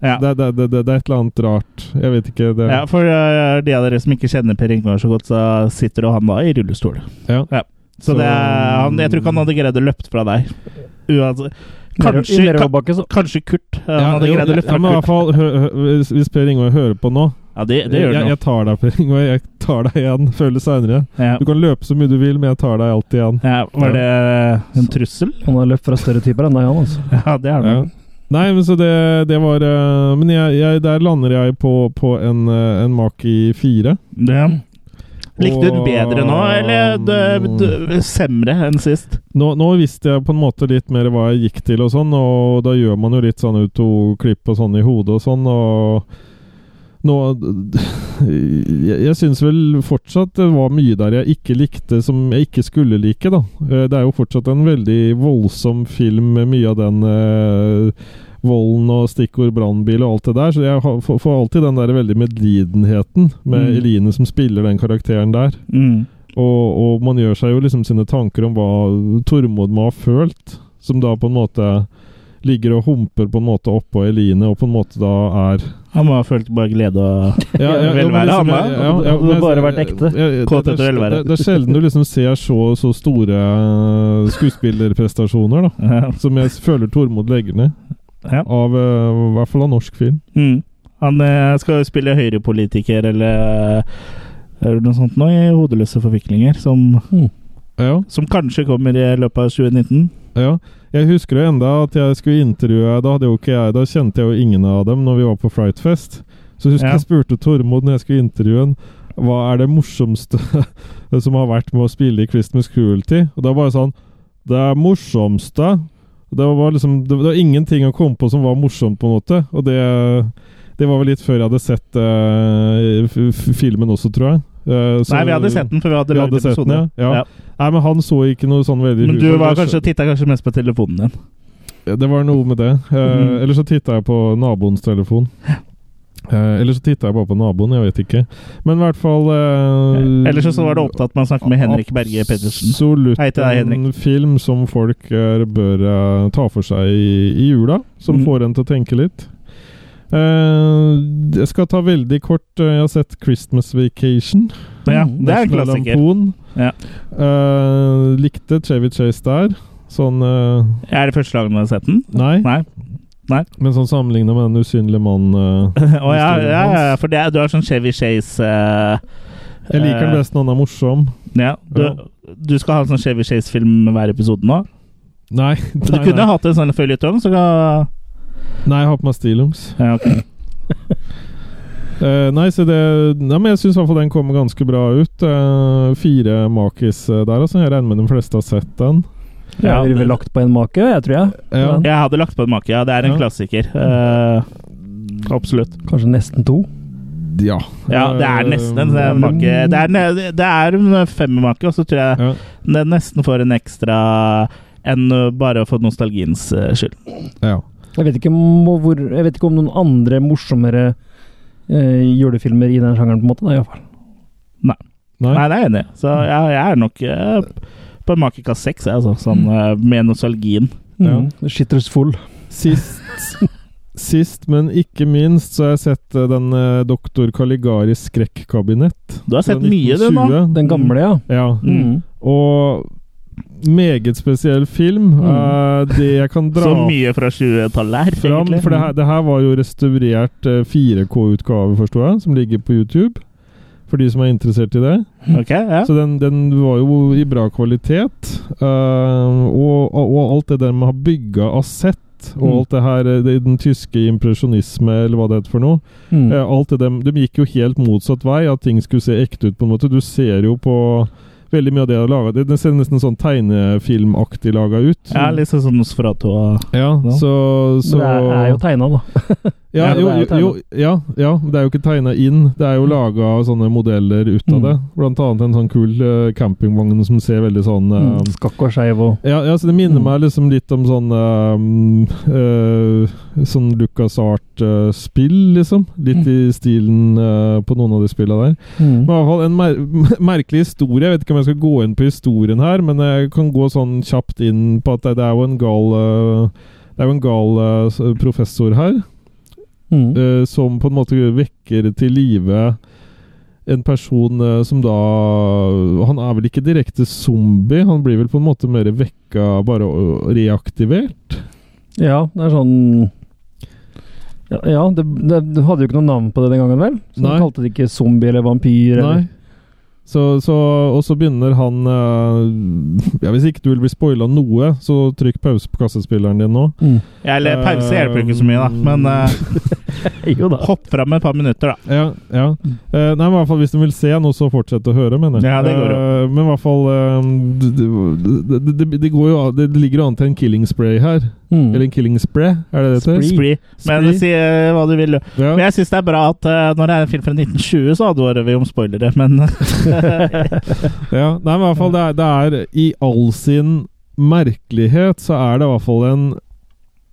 S2: Ja.
S3: Det, det, det, det, det er et eller annet rart. Jeg vet ikke. Det,
S2: Ja, for eh, de av dere som ikke kjenner Per Ingvar så godt, så sitter jo han da i rullestol.
S3: Ja.
S2: Så,
S3: Så-
S2: det er, han, jeg tror ikke han hadde greid å løpt fra deg. Uansett.
S4: Kanskje,
S2: Kanskje,
S4: I nedoverbakke, så.
S2: ka- kanskje Kurt. eh,
S3: Ja,
S2: Han hadde
S3: jo,
S2: greid å
S3: det-
S2: løfte
S3: ja, men i hvert
S2: Kurt.
S3: fall, hø, hø, hvis, hvis Per Ingvar hører på nå
S2: Ja, det, det gjør
S3: jeg,
S2: han nå.
S3: jeg tar deg, Per Ingvar. Jeg tar deg igjen. Føler seinere.
S2: Ja.
S3: Du kan løpe så mye du vil, men jeg tar deg alltid igjen.
S2: Ja, var det en trussel?
S4: Han har løpt fra større typer enn deg, han altså.
S2: Ja, det er det.
S3: Ja. Nei, men så det, det var eh, Men jeg, jeg, der lander jeg på, på en, eh, en Maki 4.
S2: det. Likte du den bedre nå,
S3: Og-
S2: eller d- d- semre enn sist?
S3: Nå, nå visste jeg på en måte litt mer hva jeg gikk til og sånn, og da gjør man jo litt sånn autoklipp og sånn i hodet og sånn, og nå Jeg, jeg syns vel fortsatt det var mye der jeg ikke likte, som jeg ikke skulle like, da. Eh, Det er jo fortsatt en veldig voldsom film med mye av den eh, volden og stikkord brannbil og alt det der, så jeg har- får får alltid den der veldig medlidenheten med
S2: Mm.
S3: Eline som spiller den karakteren der.
S2: Mm.
S3: Og, og man gjør seg jo liksom sine tanker om hva Tormod må ha følt, som da på en måte ligger og humper på en måte oppå Eline, og på en måte da er
S2: Han må ha følt bare glede og
S3: ja, ja,
S2: Velvære,
S3: ja, men
S2: han
S3: liksom,
S2: da?
S3: ja, ja, ja,
S4: Hadde det
S3: men-
S4: bare vært ekte?
S3: Ja, ja,
S2: Kåt
S3: det-
S2: etter velvære.
S3: Det, det er sjelden du liksom ser så, så store eh, skuespillerprestasjoner, da.
S2: Ja.
S3: Som jeg føler Tormod legger ned.
S2: Ja.
S3: Av eh, i hvert fall av norsk film.
S2: Mm. Han eh, skal jo spille høyrepolitiker eller eh, eller noe sånt nå i Hodeløse forviklinger, som,
S3: Ja,
S2: som kanskje kommer i løpet av 2019.
S3: ja. Jeg husker jo enda at jeg skulle intervjue Da, hadde jo ikke jeg, da kjente jeg jo ingen av dem når vi var på Frightfest. Så husker
S2: Ja.
S3: jeg spurte Tormod når jeg skulle intervjue han hva er det morsomste som har vært med å spille i Christmas Cruelty. Og da bare sånn Det er morsomste Det var liksom Det var ingenting å komme på som var morsomt, på en måte. Og det Det var vel litt før jeg hadde sett eh, f f filmen også, tror jeg. Eh, så-
S2: Nei, vi hadde sett den før vi hadde
S3: Vi
S2: lagd
S3: hadde sett
S2: episoden.
S3: den, ja. Ja. Nei, men han så ikke noe sånn veldig
S2: Men du
S3: huet.
S2: var kanskje, titta kanskje mest på telefonen din.
S3: Ja, Det var noe med det. Eh,
S2: Mhm.
S3: Eller så titta jeg på naboens telefon. Eh, eller så titta jeg bare på naboen, jeg vet ikke. Men i hvert fall eh,
S2: Ellers så var det opptatt med å snakke med Henrik Berge Pedersen.
S3: Absolutt
S2: Hei til deg, Henrik.
S3: en film som folk eh, bør eh, ta for seg i, i jula. Som
S2: Mhm.
S3: får en til å tenke litt. Eh, jeg skal ta veldig kort eh, Jeg har sett 'Christmas Vacation'.
S2: Ja, det er en
S3: National
S2: klassiker.
S3: Lampoon.
S2: Ja.
S3: Eh, likte Chevy Chase der. Sånn eh,
S2: Er det første gangen du har sett den?
S3: Nei.
S2: Nei.
S3: Men sånn sammenlignet med den usynlige mannen eh,
S2: Å ja, ja,
S3: Historien
S2: ja,
S3: hans.
S2: for det, er- du er sånn Chevy Chase eh,
S3: Jeg liker den
S2: eh,
S3: best når han er morsom.
S2: Ja, du, du skal ha en sånn Chevy Chase-film med hver episode nå?
S3: Nei,
S2: Du
S3: nei,
S2: kunne
S3: nei.
S2: hatt en sånn føljetong, så kan
S3: nei jeg har på meg stillongs.
S2: ja, ok.
S3: Eh, nei, så det Nei, men jeg syns iallfall den kommer ganske bra ut. Eh, fire makis eh, der, altså. Jeg regner med de fleste har sett den. Eh,
S4: Jeg
S2: Ja,
S4: ville vel lagt på en make, jeg tror jeg.
S3: Ja.
S4: Men
S2: Jeg hadde lagt på en make. Ja, det er en
S3: Ja.
S2: klassiker. Eh, absolutt.
S4: Kanskje nesten to.
S3: Ja.
S2: Ja, det er nesten en
S3: Eh,
S2: make. Det er, ne- det er en eh, femmermake, og så tror jeg
S3: ja,
S2: det nesten får en ekstra enn eh, bare for nostalgiens eh, skyld.
S3: ja.
S4: Jeg vet ikke om, hvor, jeg vet ikke om noen andre morsommere eh, julefilmer i den sjangeren, på en måte. Da, i hvert fall.
S3: Nei.
S2: Nei, det er jeg enig i. Så ja, jeg er nok eh, på en makekast seks, jeg, altså, sånn, eh, med nostalgien.
S4: Mm. Shitters full.
S3: Sist, sist, men ikke minst, så har jeg sett eh, den eh, Doktor Kaligaris skrekkabinett.
S2: Du har sett
S3: fra
S2: mye, du, nå.
S3: 1920.
S4: Den gamle, ja.
S3: Ja.
S4: Mm.
S3: Og meget spesiell film.
S4: Mm.
S3: Eh, det jeg kan dra
S2: Så mye fra 20-tallet her,
S3: fram
S2: egentlig.
S3: For det her, det her var jo restaurert eh, 4K-utgave, forstår jeg, som ligger på YouTube. For de som er interessert i det.
S2: Ok, ja.
S3: Så den, den var jo i bra kvalitet. eh, og, og og alt det der med å ha bygga av sett, og
S4: Mm.
S3: alt det her eh, det, Den tyske impresjonisme, eller hva det heter for noe.
S4: Mm.
S3: Eh, Alt det dem, de gikk jo helt motsatt vei, at ting skulle se ekte ut på en måte. Du ser jo på veldig mye av det de har laga. Det ser nesten sånn tegnefilmaktig laga ut.
S2: ja, litt sånn som Nosferatu og
S3: Ja, så, så
S4: Men det er, er jo tegna, da.
S3: ja,
S4: Ja, det
S3: jo,
S4: er jo
S3: jo, jo, ja, ja, men det er jo ikke tegna inn. Det er jo laga sånne modeller ut av
S4: Mm.
S3: det. Blant annet en sånn kul eh, campingvogn som ser veldig sånn eh,
S4: Mm. Skakk og skeiv og
S3: ja, ja, så det minner
S4: Mm.
S3: meg liksom litt om sånn um, eh, Sånn Lucas Art-spill, liksom. Litt i stilen eh, på noen av de spilla der.
S4: mm.
S3: Men i hvert fall en mer merkelig historie. Jeg vet ikke om jeg skal gå inn på historien her, men jeg kan gå sånn kjapt inn på at det, det er jo en gal eh, Det er jo en gal eh, s- professor her,
S4: Mm.
S3: eh, som på en måte vekker til live en person eh, som da Han er vel ikke direkte zombie, han blir vel på en måte mer vekka, bare å- reaktivert.
S4: Ja, det er sånn Ja, ja det, det, du hadde jo ikke noe navn på det den gangen, vel? Så
S3: Nei.
S4: du kalte det ikke zombie eller vampyr?
S3: Nei.
S4: Eller.
S3: Så, så, og så begynner han eh, ja, Hvis ikke du vil bli spoila noe, så trykk pause på kassespilleren din nå.
S4: Mm.
S2: Ja, eller pause hjelper jo ikke så mye, da. Men eh,
S4: Jo da.
S2: hopp fram et par minutter, da.
S3: Ja, ja. Eh, nei, men i hvert fall hvis de vil se noe, så fortsett å høre, mener jeg.
S2: Ja, det går jo.
S3: Eh, men i hvert fall eh, det, det, det, det, går jo, av- det ligger jo an til en killing spray her.
S4: Mm.
S3: Eller en killing spray, er det det heter?
S4: Spree.
S2: Spree. Men
S3: Spree.
S2: si eh, hva du vil.
S3: Ja.
S2: Men jeg syns det er bra at eh, når det er en film fra 1920, så advarer vi om spoilere, men
S3: ja. Nei, men i hvert fall det er, det er I all sin merkelighet så er det i hvert fall en,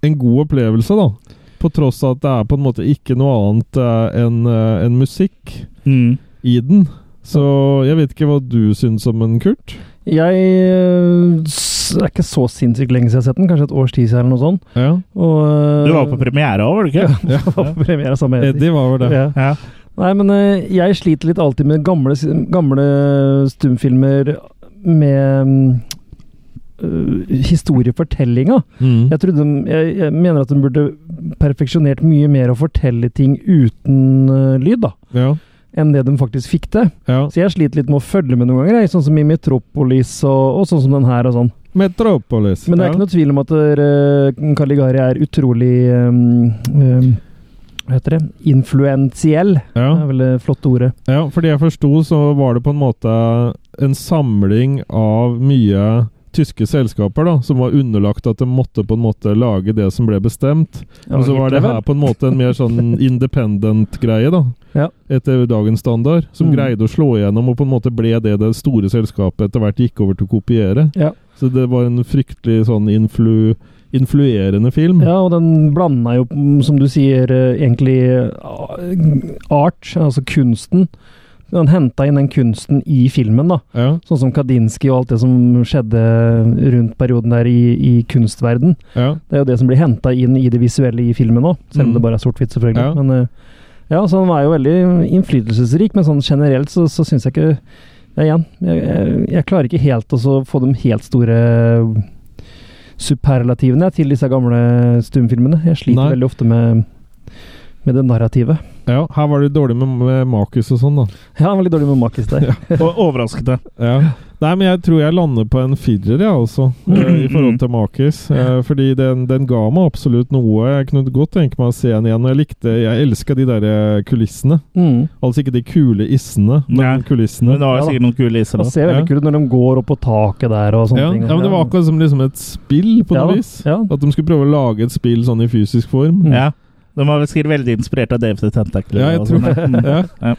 S3: en god opplevelse, da. På tross av at det er på en måte ikke noe annet eh, enn eh, enn musikk
S2: mm.
S3: i den. Så jeg vet ikke hva du syns om den, Kurt?
S4: Jeg øh, s- Det er ikke så sinnssykt lenge siden jeg har sett den. Kanskje et års tid siden, eller noe sånt.
S3: Ja.
S4: Og, øh,
S2: Du var jo på premiere òg, var du ikke?
S4: jeg var på premiere sammen med
S3: Eddie var vel det.
S4: Ja.
S2: Ja.
S4: Nei, men øh, jeg sliter litt alltid med gamle, s- gamle stumfilmer med øh, historiefortellinga.
S3: Mm.
S4: Jeg, trodde, de- jeg, jeg mener at de burde perfeksjonert mye mer å fortelle ting uten øh, lyd, da.
S3: Ja.
S4: Enn det de faktisk fikk til.
S3: Ja.
S4: Så jeg sliter litt med å følge med noen ganger, jeg, sånn som i Metropolis og, og sånn som den her og sånn.
S3: Metropolis.
S4: Men det er ikke noe tvil om at eh, Caligari er utrolig eh, eh, Hva heter det? Influensiell.
S3: ja.
S4: Det er vel det flotte ordet.
S3: Ja. ja, fordi jeg forsto, så var det på en måte en samling av mye tyske selskaper da, som var underlagt at de måtte på en måte lage det som ble bestemt. Og så var det her på en måte en mer sånn independent-greie, da.
S4: Ja.
S3: Etter dagens standard. Som
S4: Mm.
S3: greide å slå igjennom, og på en måte ble det det store selskapet etter hvert gikk over til å kopiere.
S4: Ja.
S3: Så det var en fryktelig sånn influ influerende film.
S4: Ja, og den blanda jo, mm, som du sier, eh, egentlig eh, art, altså kunsten. Den henta inn den kunsten i filmen, da.
S3: Ja.
S4: Sånn som Kadinsky og alt det som skjedde rundt perioden der i, i kunstverden.
S3: ja.
S4: Det er jo det som blir henta inn i det visuelle i filmen òg, selv om
S3: Mm.
S4: det bare er sort-hvitt, selvfølgelig.
S3: Ja.
S4: Men eh, ja, så han var jo veldig innflytelsesrik, men sånn generelt så, så syns jeg ikke ja, igjen, jeg, jeg, jeg klarer ikke helt å så få de helt store superlativene til disse gamle stumfilmene. Jeg sliter
S3: Nei.
S4: veldig ofte med, med det narrativet.
S3: ja. Her var det dårlig med, med Makis og sånn, da.
S4: Ja, veldig dårlig med makis der.
S2: Og overraskende.
S3: Ja. Nei, men jeg tror jeg lander på en firer, jeg, altså. eh, I forhold til Makis. Eh, Fordi den, den ga meg absolutt noe. Jeg kunne godt tenke meg å se den igjen. Og jeg likte Jeg elska de der eh, kulissene.
S4: Mm.
S3: Altså ikke de kule issene, men
S2: Ja.
S3: kulissene.
S2: Men det var jo
S4: Ja, da.
S2: sikkert noen kule iser
S4: Det
S2: da.
S4: ser veldig
S3: Ja.
S4: kult ut når de går opp på taket der og sånne
S3: ja.
S4: ting.
S3: ja, men det var akkurat som liksom et spill, på
S4: Ja
S3: noe
S4: da,
S3: vis.
S4: Ja.
S3: At de skulle prøve å lage et spill sånn i fysisk form.
S4: Mm.
S2: Ja. De var vel sikkert veldig inspirert av Dave the Tentacle.
S3: Ja, jeg
S2: og
S3: tror
S2: sånn, ja.
S3: Ja.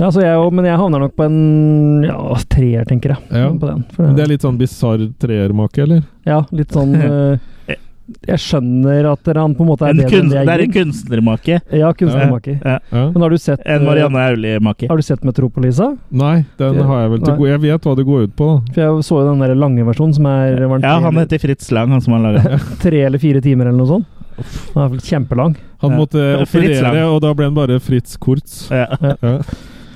S4: Ja, så jeg, òg, men jeg havner nok på en ja, treer, tenker jeg.
S3: Ja.
S4: På den. For,
S3: Men Det er litt sånn bisarr treermake, eller?
S4: Ja, litt sånn eh, Jeg skjønner at dere- han på en måte er
S2: En
S4: bedre enn
S2: kunst,
S4: det
S2: det er
S4: jeg
S2: en
S4: gir.
S2: kunstnermake.
S4: Ja, kunstnermaker.
S2: Ja.
S3: Ja.
S4: Men har du sett
S2: En
S4: eh,
S2: Marianne Aulie-make.
S4: Har du sett Metropolisa?
S3: Nei, den
S4: Ja.
S3: har jeg vel til
S4: Nei.
S3: gode. Jeg vet hva det går ut på, da.
S4: For jeg så jo den der lange versjonen som er var den
S2: Ja,
S4: tre,
S2: han heter Fritz Lang, han som har laga den.
S4: tre eller fire timer eller noe sånt. Den er vel kjempelang.
S3: Han
S2: Ja.
S3: måtte
S2: Ja, Fritz
S3: operere,
S2: Lang.
S3: og da ble han bare Fritz Kurz.
S2: Ja.
S3: Ja.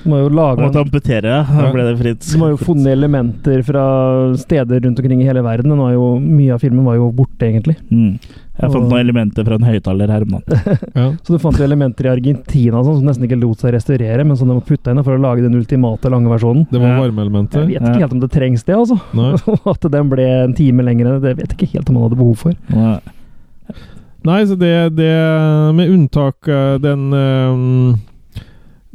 S4: Du må jo
S2: Han
S4: lage
S2: måtte amputere, da ble det Fritz.
S4: De har jo funnet elementer fra steder rundt omkring i hele verden. Den var jo, mye av filmen var jo borte, egentlig.
S2: Mm. Jeg fant noen elementer fra en høyttaler her om natten.
S3: Ja.
S4: Så du fant jo elementer i Argentina og sånn, som nesten ikke lot seg restaurere, men som de må putte inn for å lage den ultimate lange versjonen.
S3: Det var
S2: Ja.
S4: Jeg
S3: varmeelementer.
S4: vet ikke
S2: Ja.
S4: helt om det trengs, det, altså.
S3: Nei.
S4: At den ble en time lengre, det vet jeg ikke helt om han hadde behov for.
S2: Ja.
S3: Nei, så det, det Med unntak eh, den eh,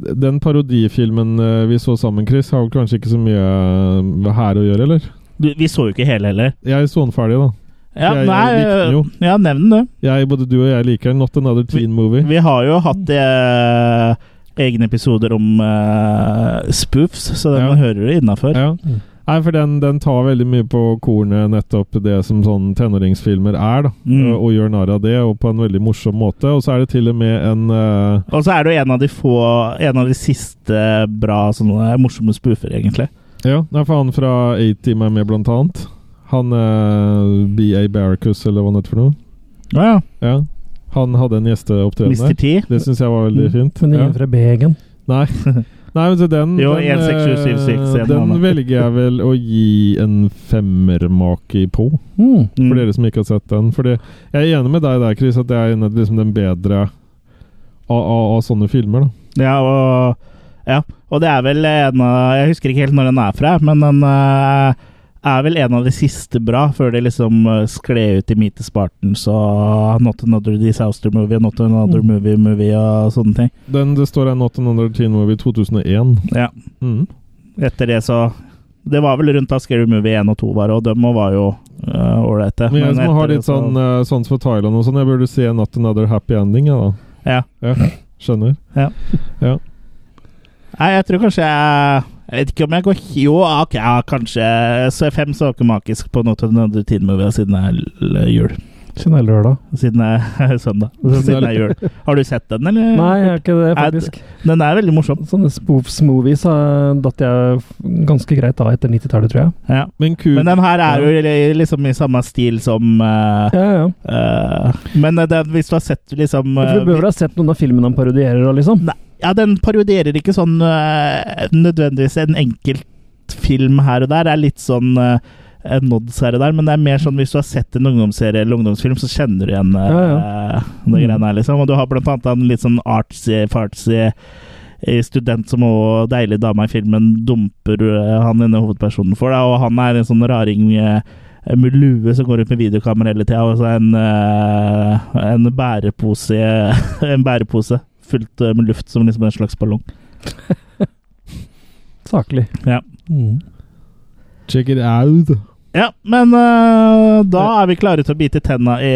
S3: den parodifilmen eh, vi så sammen, Chris, har vel kanskje ikke så mye eh, her å gjøre, eller?
S2: Du, vi så jo ikke hele heller.
S3: Jeg så den ferdig, da.
S2: Ja,
S3: Jeg- jeg likte den
S2: nei,
S3: jo.
S2: ja, nevn den, du.
S3: Jeg, både du og jeg liker den. Not another teen movie.
S2: Vi har jo hatt eh, egne episoder om eh, spoofs, så den
S3: Ja.
S2: hører du innafor.
S3: Ja. Nei, for den, den tar veldig mye på kornet, nettopp det som sånn tenåringsfilmer er, da.
S2: Mm.
S3: Og, og gjør narr av det, og på en veldig morsom måte. Og så er det til og med en eh,
S2: Og så er det jo en av de få En av de siste bra sånne morsomme spoofer, egentlig.
S3: Ja, det er for han fra A-Team er med, blant annet. Han eh, B.A. Barracus, eller hva han heter for noe.
S2: Ja,
S3: Ja. Han hadde en gjesteopptreden
S2: Mr.
S3: der.
S2: T.
S3: Det syns jeg var
S2: Mm,
S3: veldig fint.
S4: Men
S3: Ja.
S4: ingen fra Begen.
S3: Nei. Nei, men så den
S2: Jo,
S3: den,
S2: 16776,
S3: eh,
S2: en
S3: den
S2: annen.
S3: velger jeg vel å gi en femmermake på.
S4: Mm.
S3: For
S2: Mm.
S3: dere som ikke har sett den. Fordi jeg er enig med deg der, Chris, at det er en av liksom, den bedre av, av, av sånne filmer. da.
S2: Ja, og Ja, og det er vel en av Jeg husker ikke helt når den er fra, men den eh, er vel en av de siste bra, før det liksom eh, skled ut i Meet the Spartans og Not Another Disaster Movie og Not Another
S4: Mm.
S2: Movie Movie og sånne ting.
S3: Den det står er Not Another Teen Movie 2001.
S2: Ja.
S3: Mm.
S2: Etter det så Det var vel rundt da Scary Movie 1 og 2 var, og dem var jo øh, ålreite.
S3: Men jeg som
S2: etter
S3: har
S2: det
S3: litt
S2: så-
S3: sånn eh, sans for Thailand og sånn, jeg burde se Not Another Happy Ending, ja da.
S2: Ja.
S3: Skjønner.
S2: Nei, jeg tror kanskje jeg Jeg vet ikke om jeg går Jo, ok, ja, kanskje Så er fem saker makisk på Not Another Teen Movie siden det er l- jul.
S4: Siden det er lørdag.
S2: Siden det er søndag. Siden det er jul. Har du sett den, eller?
S4: Nei, jeg er ikke det,
S2: Er det-
S4: faktisk.
S2: Den er veldig morsom.
S4: Sånne spoofs-movies eh, datt jeg f- ganske greit av etter 90-tallet, tror jeg.
S2: Ja.
S3: Men ku...
S2: Men den her er jo li- liksom i samme stil som øh,
S4: Ja, ja.
S2: øh, Men det, hvis du har sett liksom
S4: For
S2: øh,
S4: du behøver ha sett noen av filmene han parodierer og liksom.
S2: Ja, den parodierer ikke sånn øh, nødvendigvis en enkelt film her og der. Det er litt sånn øh, en nods her og der, men det er mer sånn hvis du har sett en ungdomsserie eller ungdomsfilm, så kjenner du igjen øh,
S4: Ja,
S2: det greiene her, liksom. Og du har blant annet en litt sånn artsy-fartsy eh, student som òg deilig dama i filmen dumper øh, han denne hovedpersonen for, da, og han er en sånn raring øh, med lue som går ut med videokamera hele tida, og så en, eh, en bærepose En bærepose fullt eh, med luft som liksom en slags ballong.
S4: Saklig.
S2: Ja.
S4: Mm.
S3: Check it out.
S2: Ja, men eh, da er vi klare til å bite tenna i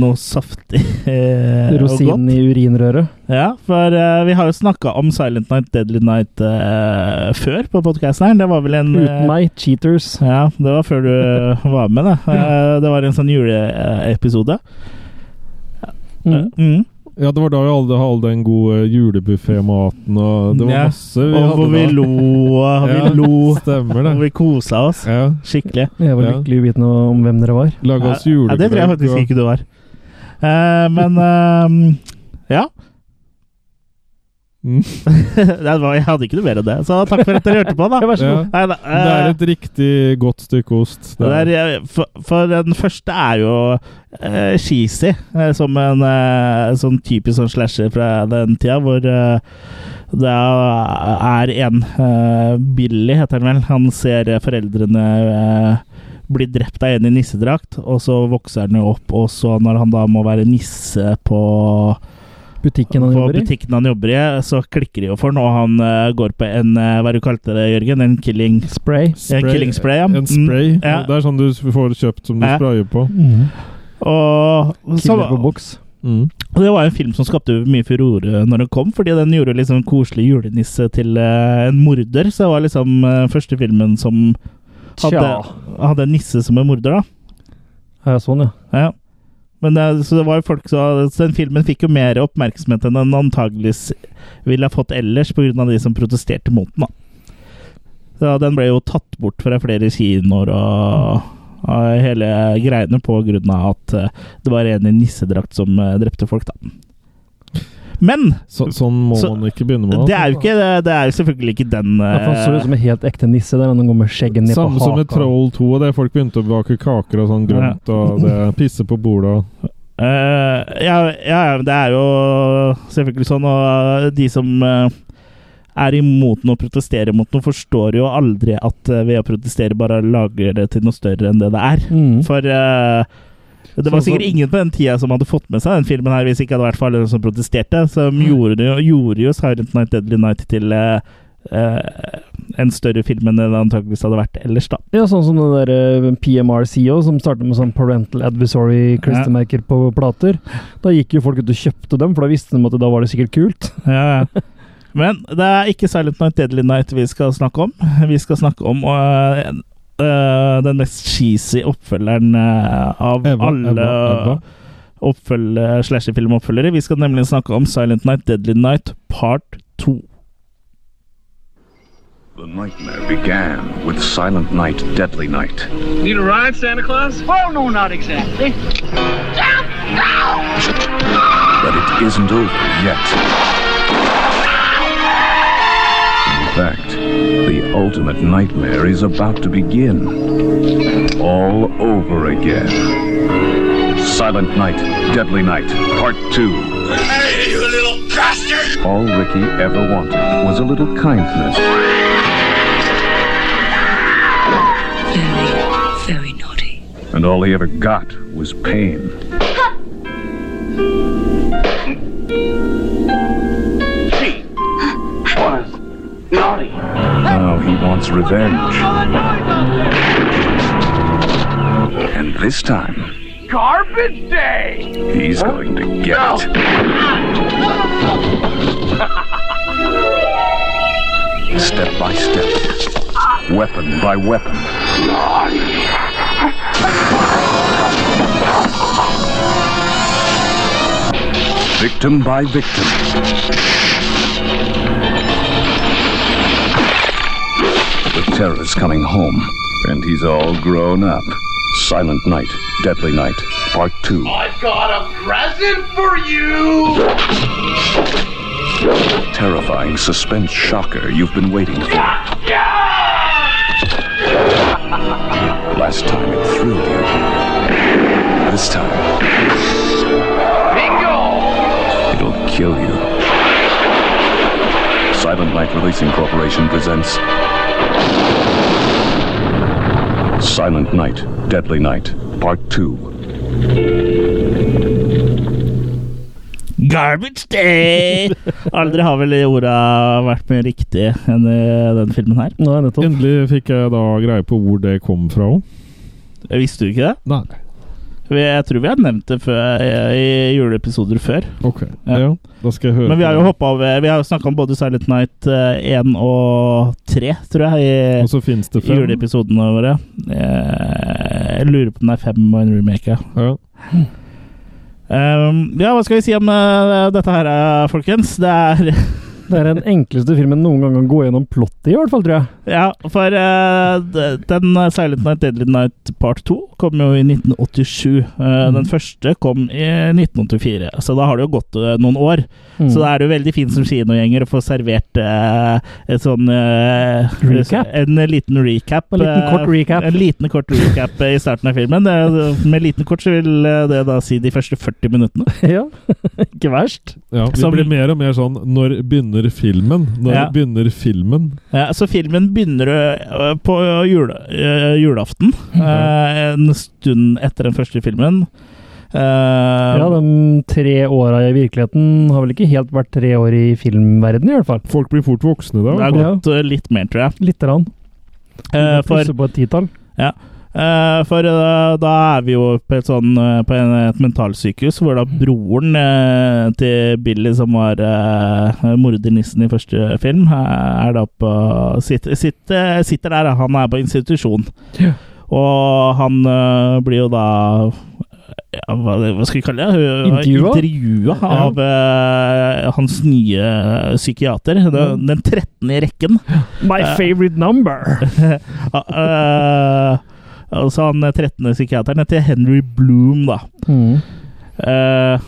S2: noe saftig eh, og
S4: Rosinen
S2: godt.
S4: i urinrøret.
S2: Ja, for eh, vi har jo snakka om Silent Night, Deadly Night eh, før på podkasten her. Det var vel en eh,
S4: Uten meg, cheaters.
S2: Ja, det var før du var med, da. Eh, det var en sånn juleepisode.
S4: Mm.
S2: Mm.
S3: Ja, det var da vi alle hadde en god eh, julebuffé-maten, og det var
S2: Ja.
S3: masse vi
S2: Og hvor vi
S3: da.
S2: lo, og vi
S3: Ja,
S2: lo,
S3: Stemmer det.
S2: og vi kosa oss
S3: Ja.
S2: skikkelig.
S4: Jeg var
S3: Ja.
S4: lykkelig uvitende om hvem dere var.
S3: Lage oss
S2: Ja,
S3: julegrøt.
S2: det tror jeg faktisk ikke du var. Eh, men ehm, ja.
S3: Mm.
S2: det var, jeg hadde ikke noe mer enn det, så takk for at dere hørte på, da.
S4: Ja, vær så
S3: Ja.
S4: god.
S2: Nei, da,
S3: Det er
S2: eh,
S3: et riktig godt stykke ost. Det
S2: det
S3: er.
S2: er, eh, for, for den første er jo eh, cheesy, eh, som en eh, sånn typisk sånn slasher fra den tida, hvor eh, det er en eh, Billy, heter han vel. Han ser eh, foreldrene eh, bli drept av en i nissedrakt, og så vokser han jo opp, og så når han da må være nisse på
S4: Butikken han
S2: på
S4: jobber i.
S2: butikken han jobber i, så klikker de jo for han, og han eh, går på en eh, Hva er det du kalte det, Jørgen? En killing
S4: Spray.
S2: Ja, killing spray, ja.
S3: En spray.
S2: Mm, ja.
S3: Det er sånn du får kjøpt som du
S2: Ja. Mm.
S3: sprayer på.
S4: Mm.
S2: Og
S4: Killer på boks.
S3: Mm.
S2: Og Det var en film som skapte mye furore når den kom, fordi den gjorde liksom en koselig julenisse til eh, en morder. Så det var liksom eh, første filmen som hadde,
S4: Tja.
S2: hadde en nisse som en morder, da.
S4: Ja, sånn, ja.
S2: Ja. Men det, så det var jo folk så, så den filmen fikk jo mer oppmerksomhet enn den antageligvis ville ha fått ellers, pga. de som protesterte mot den. da. Så den ble jo tatt bort fra flere kinoer og, og hele greiene pga. at eh, det var en i nissedrakt som eh, drepte folk, da. Men
S3: Så, sånn må
S2: Så-
S3: man ikke begynne med.
S2: det er jo, ikke, det er jo selvfølgelig ikke den
S4: Ja, for Han
S2: eh,
S4: ser ut som en helt ekte nisse der, han går med skjegget ned
S3: Samme
S4: på
S3: som med
S4: haka.
S3: Troll 2, og det folk begynte å bake kaker og sånn grønt, og det pisse på bordet og
S2: Eh, ja, ja, det er jo selvfølgelig sånn, og de som eh, er imot noe og protesterer mot noe, forstår jo aldri at eh, ved å protestere bare lager det til noe større enn det det er.
S4: Mm.
S2: For eh, det var
S4: Så- så-
S2: sikkert ingen på den tida som hadde fått med seg den filmen her, hvis ikke hadde vært for alle de som protesterte, som gjorde, det jo- gjorde jo 'Silent Night Deadly Night' til eh, eh, en større film enn det antakeligvis hadde vært ellers, da.
S4: Ja, sånn som den der eh, PMRCO, som startet med sånn Parental Advisory klistremerker på plater. Da gikk jo folk ut og kjøpte dem, for da visste de at da var det sikkert kult.
S2: Ja, ja. Men det er ikke Silent Night Deadly Night vi skal snakke om. Vi skal snakke om øh, en- øh, den mest cheesy oppfølgeren øh, av
S3: Eva,
S2: alle
S3: Eva, Eva.
S2: oppfølge- slasher-filmoppfølgere. Vi skal nemlig snakke om Silent Night Deadly Night part 2.
S6: The nightmare began with Silent Night, Deadly Night.
S1: Need a ride, Santa Claus? Well, Oh, no, not exactly.
S6: But it isn't over yet. In fact, the ultimate nightmare is about to begin. All over again. Silent Night, Deadly Night, Part 2.
S1: Hey, you little bastard!
S6: All Ricky ever wanted was a little kindness.
S7: Very, very naughty.
S6: And all he ever got was pain.
S1: She was naughty.
S6: Now he wants revenge. And this time,
S1: Garbage day!
S6: he's going to get it. Step by step, weapon by weapon. Victim by victim. The terror's coming home, and he's all grown up. Silent Night, Deadly Night, Part 2.
S1: I've got a present for you!
S6: Terrifying suspense shocker you've been waiting for. Last time it thrilled you. This time,
S1: Bingo!
S6: it'll kill you. Silent Night Releasing Corporation presents Silent Night, Deadly Night, Part 2.
S2: Garbage Day! Aldri har vel de orda vært mer riktig enn i den filmen her.
S4: Nå er det nettopp.
S3: Endelig fikk jeg da greie på hvor det kom fra òg.
S2: Visste du ikke det?
S3: Nei.
S2: Jeg tror vi har nevnt det før, i juleepisoder før.
S3: Ok.
S2: Ja.
S3: Ja. Da skal jeg høre
S2: Men vi har
S3: på
S2: jo
S3: det.
S2: hoppet over Vi har jo snakka om både Silent Night eh, 1 og 3, tror jeg,
S3: Og så fins det
S2: i
S3: fem.
S2: juleepisodene våre. Eh, Jeg lurer på om det er fem og en remake. ja.
S3: Ja.
S2: Um, ja, hva skal vi si om eh, dette her, eh, folkens? Det er
S4: Det er den enkleste filmen noen gang kan gå gjennom plottet i, i hvert fall, tror jeg.
S2: Ja, for eh, d- den eh, Silent Night Deadly Night part 2 kom jo i 1987. Eh,
S3: Mm.
S2: Den første kom i 1984, så da har det jo gått eh, noen år.
S4: Mm.
S2: Så da er det jo veldig fint som kinogjenger å få servert eh, et sånn eh,
S4: Recap.
S2: En liten recap.
S4: En liten kort
S2: eh,
S4: recap.
S2: En liten kort recap eh, i starten av filmen. Eh, Med liten kort så vil eh, det da si de første 40 minuttene.
S4: ja, ikke verst.
S3: Ja, vi
S2: Som-
S3: blir mer og mer sånn Når begynner filmen? Når
S2: Ja.
S3: begynner filmen?
S2: Ja, så filmen begynner eh, på jule, eh, julaften.
S4: Mhm.
S2: eh, En stund etter den første filmen. Eh,
S4: Ja, de tre åra i virkeligheten har vel ikke helt vært tre år i filmverdenen, i hvert fall.
S3: Folk blir fort voksne da.
S2: det
S3: i hvert
S2: har
S3: fall.
S2: gått eh, litt mer, tror jeg.
S4: Lite grann.
S2: Eh, For
S4: Plusse på et titall.
S2: Ja. Eh, Eh, for eh, da er vi jo på et, sånn, eh, på en, et mentalsykehus hvor da broren eh, til Billy, som var eh, mordernissen i første film, eh, er da på, sitter, sitter, sitter der. da. Han er på institusjon.
S4: Ja.
S2: Og han eh, blir jo da ja, hva, hva skal vi kalle det?
S4: Intervjua?
S2: Intervjua av eh, hans nye psykiater. Den, den 13. i rekken.
S4: My
S2: Eh.
S4: favorite number!
S2: Ja, eh, altså han 13. psykiateren heter Henry Bloom, da.
S4: Mm.
S2: Eh,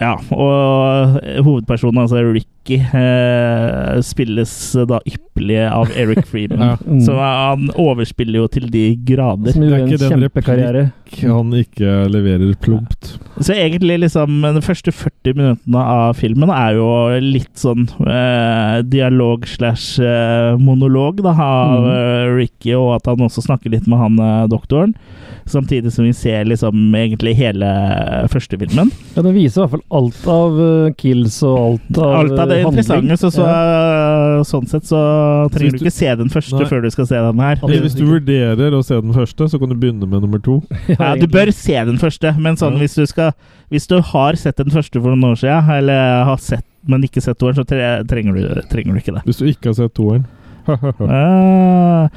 S2: ja, og hovedpersonen, altså Ricky, eh, spilles da ypperlig av Eric Freeman.
S3: Ja.
S4: Mm.
S2: Så han overspiller jo til de grader.
S4: Som
S3: Det er
S4: gjorde en
S3: ikke den
S4: kjempekarriere.
S3: Han ikke leverer plumpt.
S2: Så egentlig liksom de første 40 minuttene av filmen er jo litt sånn eh, dialog slash eh, monolog da,
S3: Mm.
S2: av eh, Ricky, og at han også snakker litt med han eh, doktoren. Samtidig som vi ser liksom egentlig hele eh, første filmen.
S4: Ja, den viser i hvert fall alt av eh, kills og alt av
S2: Alt av det
S4: eh, handling.
S2: interessante, så, så eh, sånn sett så
S3: Så hvis
S2: trenger du
S3: du-
S2: ikke se den første
S3: Nei.
S2: før du skal se den her.
S4: Ja, det-
S3: Hvis du vurderer å se den første, så kan du begynne med nummer to.
S4: Ja,
S2: Ja, du
S4: egentlig.
S2: bør se den første, men sånn
S3: Ja.
S2: hvis du skal Hvis du har sett den første for noen år siden, eller har sett, men ikke sett toeren, så tre, trenger, du, trenger du ikke det.
S3: Hvis du ikke har sett toeren.
S2: Eh,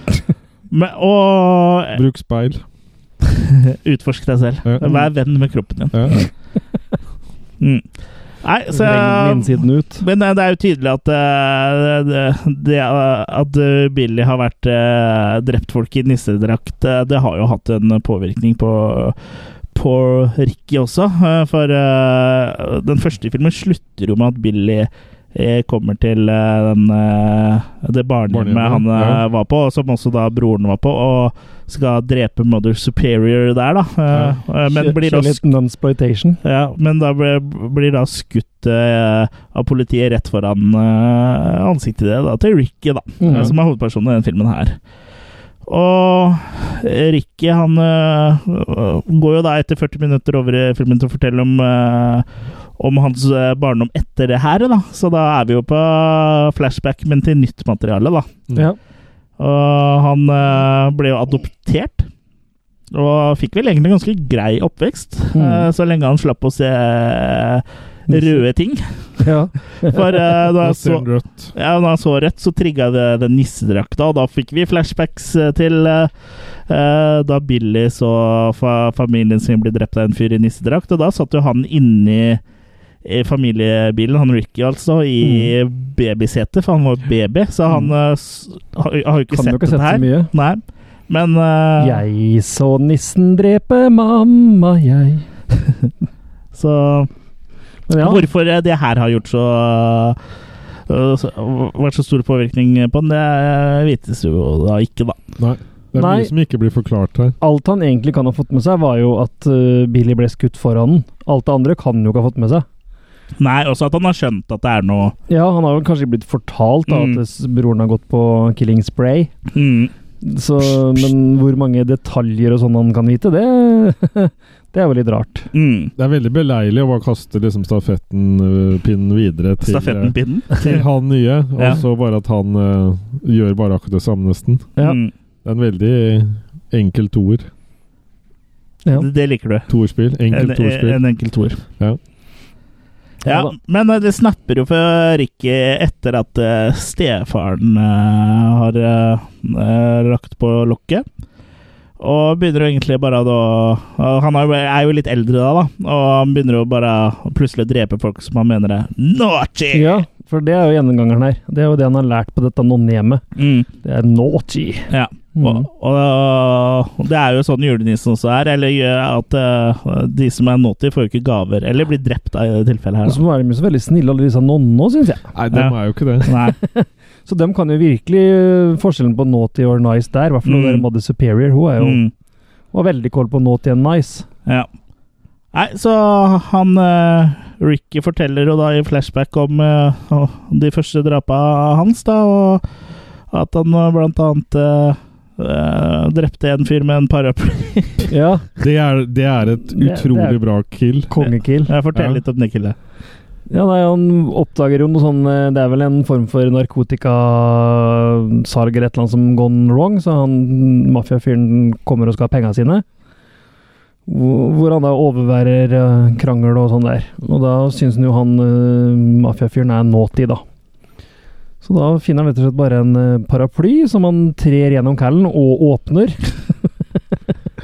S2: men, og eh,
S3: Bruk speil.
S2: utforsk deg selv.
S3: Ja.
S2: Vær venn med kroppen din.
S3: Ja.
S2: Mm. Nei, så
S4: Lenge innsiden ut.
S2: Men eh, det er jo tydelig at eh, det, det, eh, at eh, Billy har vært eh, drept folk i nissedrakt, eh, det har jo hatt en påvirkning på på Ricky også, eh, for eh, den første filmen slutter jo med at Billy eh, kommer til eh, den, eh, det barnehjemmet
S3: Barnehjemmet,
S2: han eh,
S3: ja.
S2: var på, og som også da broren var på, og skal drepe Mother Superior der, da. Eh, eh, Men blir da
S4: litt nunsploitation.
S2: ja, men da ble, blir da skutt eh, av politiet rett foran eh, ansiktet det, da, til Ricky, da,
S4: Mhm.
S2: som er hovedpersonen i den filmen her. Og Ricky han eh, går jo da etter 40 minutter over i filmen til å fortelle om, eh, om hans eh, barndom etter det her, da. Så da er vi jo på flashback, men til nytt materiale, da.
S4: Ja.
S2: Og han eh, ble jo adoptert. Og fikk vel egentlig ganske grei oppvekst,
S4: Mm.
S2: eh, så lenge han slapp å se eh, røde ting.
S4: ja.
S2: For eh, da
S3: Da
S2: jeg så
S3: ser den rødt.
S2: ja, når han så rødt, så trigga det den nissedrakta, og da fikk vi flashbacks eh, til eh, eh, da Billy så fa familien sin bli drept av en fyr i nissedrakt, og da satt jo han inni i familiebilen, han Ricky altså, i
S4: Mm.
S2: babysetet, for han var jo baby, så han eh, s- har, har jo ikke
S4: Kan
S2: sett
S4: jo Mm. ikke
S2: dette
S4: sette så
S2: her.
S4: mye.
S2: Nei, men eh,
S4: Jeg så nissen drepe mamma, jeg.
S2: Så
S4: Men ja,
S2: hvorfor eh, det her har gjort så eh, så- vært så stor påvirkning på den, det eh, vites jo da ikke, da.
S3: Nei. Det er
S4: Nei.
S3: mye som ikke blir forklart her.
S4: alt han egentlig kan ha fått med seg, var jo at eh, Billy ble skutt foran den. Alt det andre kan han jo ikke ha fått med seg.
S2: Nei, også at han har skjønt at det er noe
S4: Ja, han har vel kanskje blitt fortalt da,
S2: Mm.
S4: at s- broren har gått på killing spray.
S2: mm.
S4: Så, men hvor mange detaljer og sånn han kan vite, det, det er jo litt rart.
S2: Mm.
S3: Det er veldig beleilig å bare kaste liksom stafettpinnen videre til, øh,
S4: eh,
S2: Stafettenpinnen.
S3: til han nye, og
S2: Ja.
S3: så bare at han eh, gjør bare akkurat det samme, nesten.
S4: Ja.
S2: Mm.
S3: Det er en veldig enkel toer.
S4: Ja.
S2: Det- Det liker du.
S3: Toerspill.
S2: En,
S3: Enkelt toerspill.
S2: en enkel toer.
S3: Ja.
S4: Ja
S2: Ja,
S4: da.
S2: men eh, det snapper jo for Ricky etter at eh, stefaren eh, har eh, lagt på lokket. Og begynner jo egentlig bare da og Han er jo- er jo litt eldre da, da. Og han begynner jo bare å plutselig å drepe folk som han mener er naughty!
S4: Ja, for det er jo gjennomgangeren her. Det er jo det han har lært på dette nonnehjemmet.
S2: Mm.
S4: Det er naughty.
S2: Ja. Og,
S4: Mm.
S2: og det er jo sånn julenissen også er, eller gjør at eh, de som er naughty, får jo ikke gaver. Eller blir drept av i det tilfellet
S4: Og
S2: her.
S4: så var de jo så veldig snille, alle disse nonnene, syns jeg.
S3: Nei, de
S2: Ja.
S3: er jo ikke det.
S4: Altså,
S2: Da. Nei.
S4: Så dem kan jo virkelig øh, forskjellen på naughty or nice der. I hvert fall
S2: Mm.
S4: mm. Mother Superior. Hun er jo
S2: Mm,
S4: hun har veldig koll på naughty and nice.
S2: ja. Nei, så han eh, Ricky forteller jo da i flashback om eh, de første drapa hans, da, og at han eh, blant annet eh, eh, drepte en fyr med en paraply.
S4: Ja,
S3: Det er, det er et
S4: Det- det er-
S3: utrolig bra kill.
S4: kongekill.
S2: Jeg
S3: Ja.
S2: forteller litt om det killet.
S4: Ja, nei, Han oppdager jo noe sånn eh, Det er vel en form for narkotikasalg eller et eller annet som gone wrong, så han mafiafyren kommer og skal ha penga sine. Hvor hvor han da overværer eh, krangel og sånn der. Og da syns han jo han eh, mafiafyren er naughty, da. Så da finner han rett og slett bare en eh, paraply som han trer gjennom kællen og åpner.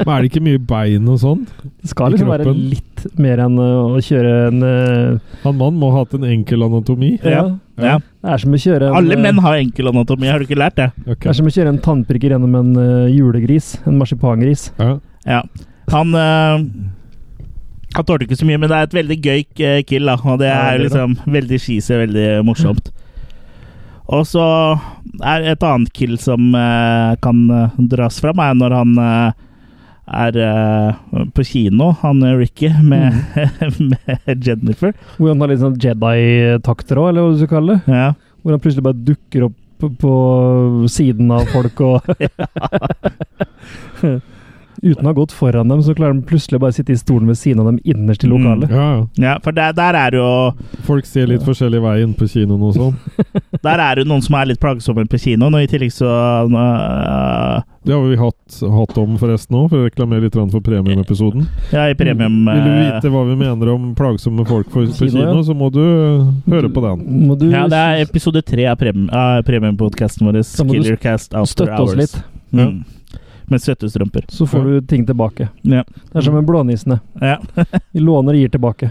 S3: Men er det ikke mye bein og sånn?
S4: Det skal
S3: I
S4: liksom være
S3: kroppen.
S4: litt mer enn eh, å kjøre en eh,
S3: Han mannen må ha hatt en enkel anatomi.
S4: ja.
S2: Ja.
S4: Det er som å kjøre en
S2: Alle
S4: eh,
S2: menn har enkel anatomi, har du ikke lært det?
S3: Ok.
S4: Det er som å kjøre en tannprikker gjennom en eh, julegris. En marsipangris.
S3: Ja.
S2: Ja. Han øh, Han tålte ikke så mye, men det er et veldig gøy eh, kill, da. Og det
S4: Ja,
S2: er jo
S4: det er
S2: liksom veldig cheesy, veldig morsomt. Og så er et annet kill som eh, kan eh, dras fram, er når han eh, er eh, på kino, han eh, Ricky, med,
S3: Mm.
S2: med Jennifer.
S4: Hvor han har litt sånn Jedi-takter òg, eller hva du skal kalle det.
S2: Ja.
S4: Hvor han plutselig bare dukker opp på, på siden av folk og Uten å ha gått foran dem, så klarer han plutselig bare å sitte i stolen ved siden av dem
S2: Mm.
S4: innerst i lokalet.
S3: Ja, ja.
S2: ja, for der, der er jo
S3: Folk ser litt forskjellig veien på kinoen og sånn.
S2: Der er det jo noen som er litt plagsomme på kinoen, og i tillegg så øh,
S3: Det har vi hatt, hatt om forresten òg, for å reklamere litt grann for premiumepisoden.
S2: Ja, i premium...
S3: Mm. Vil du
S2: øh,
S3: vite hva vi mener om plagsomme folk på, på
S4: Kino, ja.
S3: kino, så må du eh, høre på den.
S4: Må du
S2: Ja, det er episode tre av prem- av premiumpodkasten vår.
S4: Da må du
S2: Killercast After
S4: støtte oss
S2: Hours.
S4: litt,
S2: Mm. Med støttestrømper.
S4: så får du ting tilbake.
S2: Ja.
S4: Det er som med blånissene.
S2: ja.
S4: Vi låner og gir tilbake.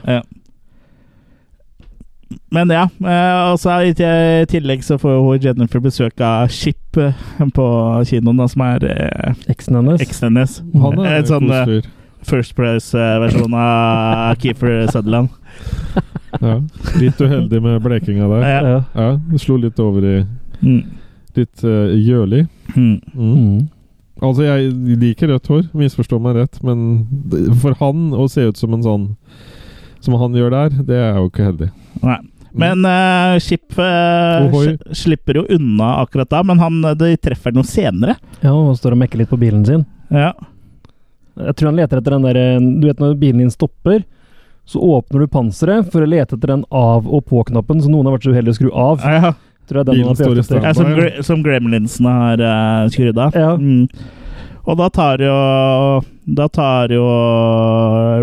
S2: Men ja, eh, og så er- i til- tillegg så får hun Jennifer besøk av Chip eh, på kinoen, da, som er eh,
S4: Eksen hennes.
S2: eksen hennes.
S3: Han er
S2: Et
S3: en
S2: sånn eh,
S3: kosefyr.
S2: First Price-versjon av Keeper Sutherland.
S3: Ja. Litt uheldig med blekinga der.
S2: Ja.
S4: Ja.
S3: Ja, det slo litt over i
S2: Mm.
S3: litt eh, gjølig.
S2: Mm.
S3: Mm.
S4: Mm.
S3: Altså, jeg liker rødt hår, misforstå meg rett, men det- for han å se ut som en sånn som han gjør der, det er jo ikke heldig.
S2: Nei. Men eh, Chip eh,
S3: Ohoi.
S2: sli- slipper jo unna akkurat da, men han, eh, de treffer noe senere.
S4: Ja, og står og mekker litt på bilen sin.
S2: Ja.
S4: Jeg tror han leter etter den der eh, Du vet når bilen din stopper, så åpner du panseret for å lete etter den av- og på-knappen, så noen har vært så uheldig å skru av.
S2: Ja.
S4: Tror jeg den
S3: Bilen
S4: han har eh,
S3: står i
S4: prøvd etter.
S2: Ja, som,
S3: Ja.
S2: gre som gremlinsene har eh, skrudd av.
S4: Ja.
S2: Mm. Og da tar jo Da tar jo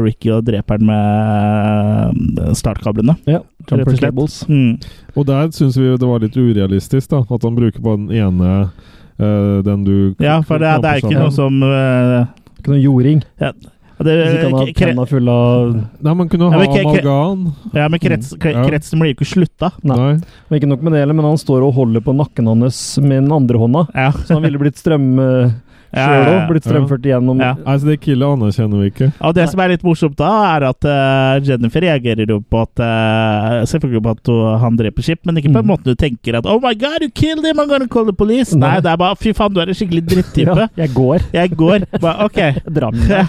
S2: Ricky og dreper han med eh, startkablene.
S4: Ja,
S2: Rett og
S4: jumper
S2: slett.
S4: cables.
S2: Mm.
S3: Og der syns vi jo det var litt urealistisk, da. At han bruker på den ene eh, den du
S2: Ja, for det, er- det er ikke noe som eh,
S4: Ikke noe jording.
S2: det,
S4: Hvis ikke han har
S2: kre,
S4: tenna fulle av
S3: Nei, man kunne
S2: Ja,
S3: ha
S2: men ikke- ikke-
S3: amalgam.
S2: ja, men krets, kre,
S3: Ja.
S2: kretsen blir jo ikke slutta.
S4: Nei.
S3: Nei.
S4: Men ikke nok med det heller, men han står og holder på nakken hans med den andre hånda.
S2: Ja.
S4: Så han ville blitt strøm eh,
S2: Ja,
S4: sjøl
S2: ja,
S4: òg.
S2: ja.
S4: Blitt strømført igjennom.
S2: Ja.
S3: Nei, så det killet anerkjenner vi ikke.
S2: Og det som er litt morsomt da, er at eh, Jennifer reagerer jo på at eh, Selvfølgelig på at hun- han dreper Chip, men ikke på
S4: Mm.
S2: en måte du tenker at Oh my god, you killed him, I'm gonna call the police. Nei,
S4: Nei.
S2: det er bare Fy faen, du er en skikkelig drittype.
S4: Ja, jeg går.
S2: Jeg går. Bare, ok.
S4: Jeg drar med
S2: Ja.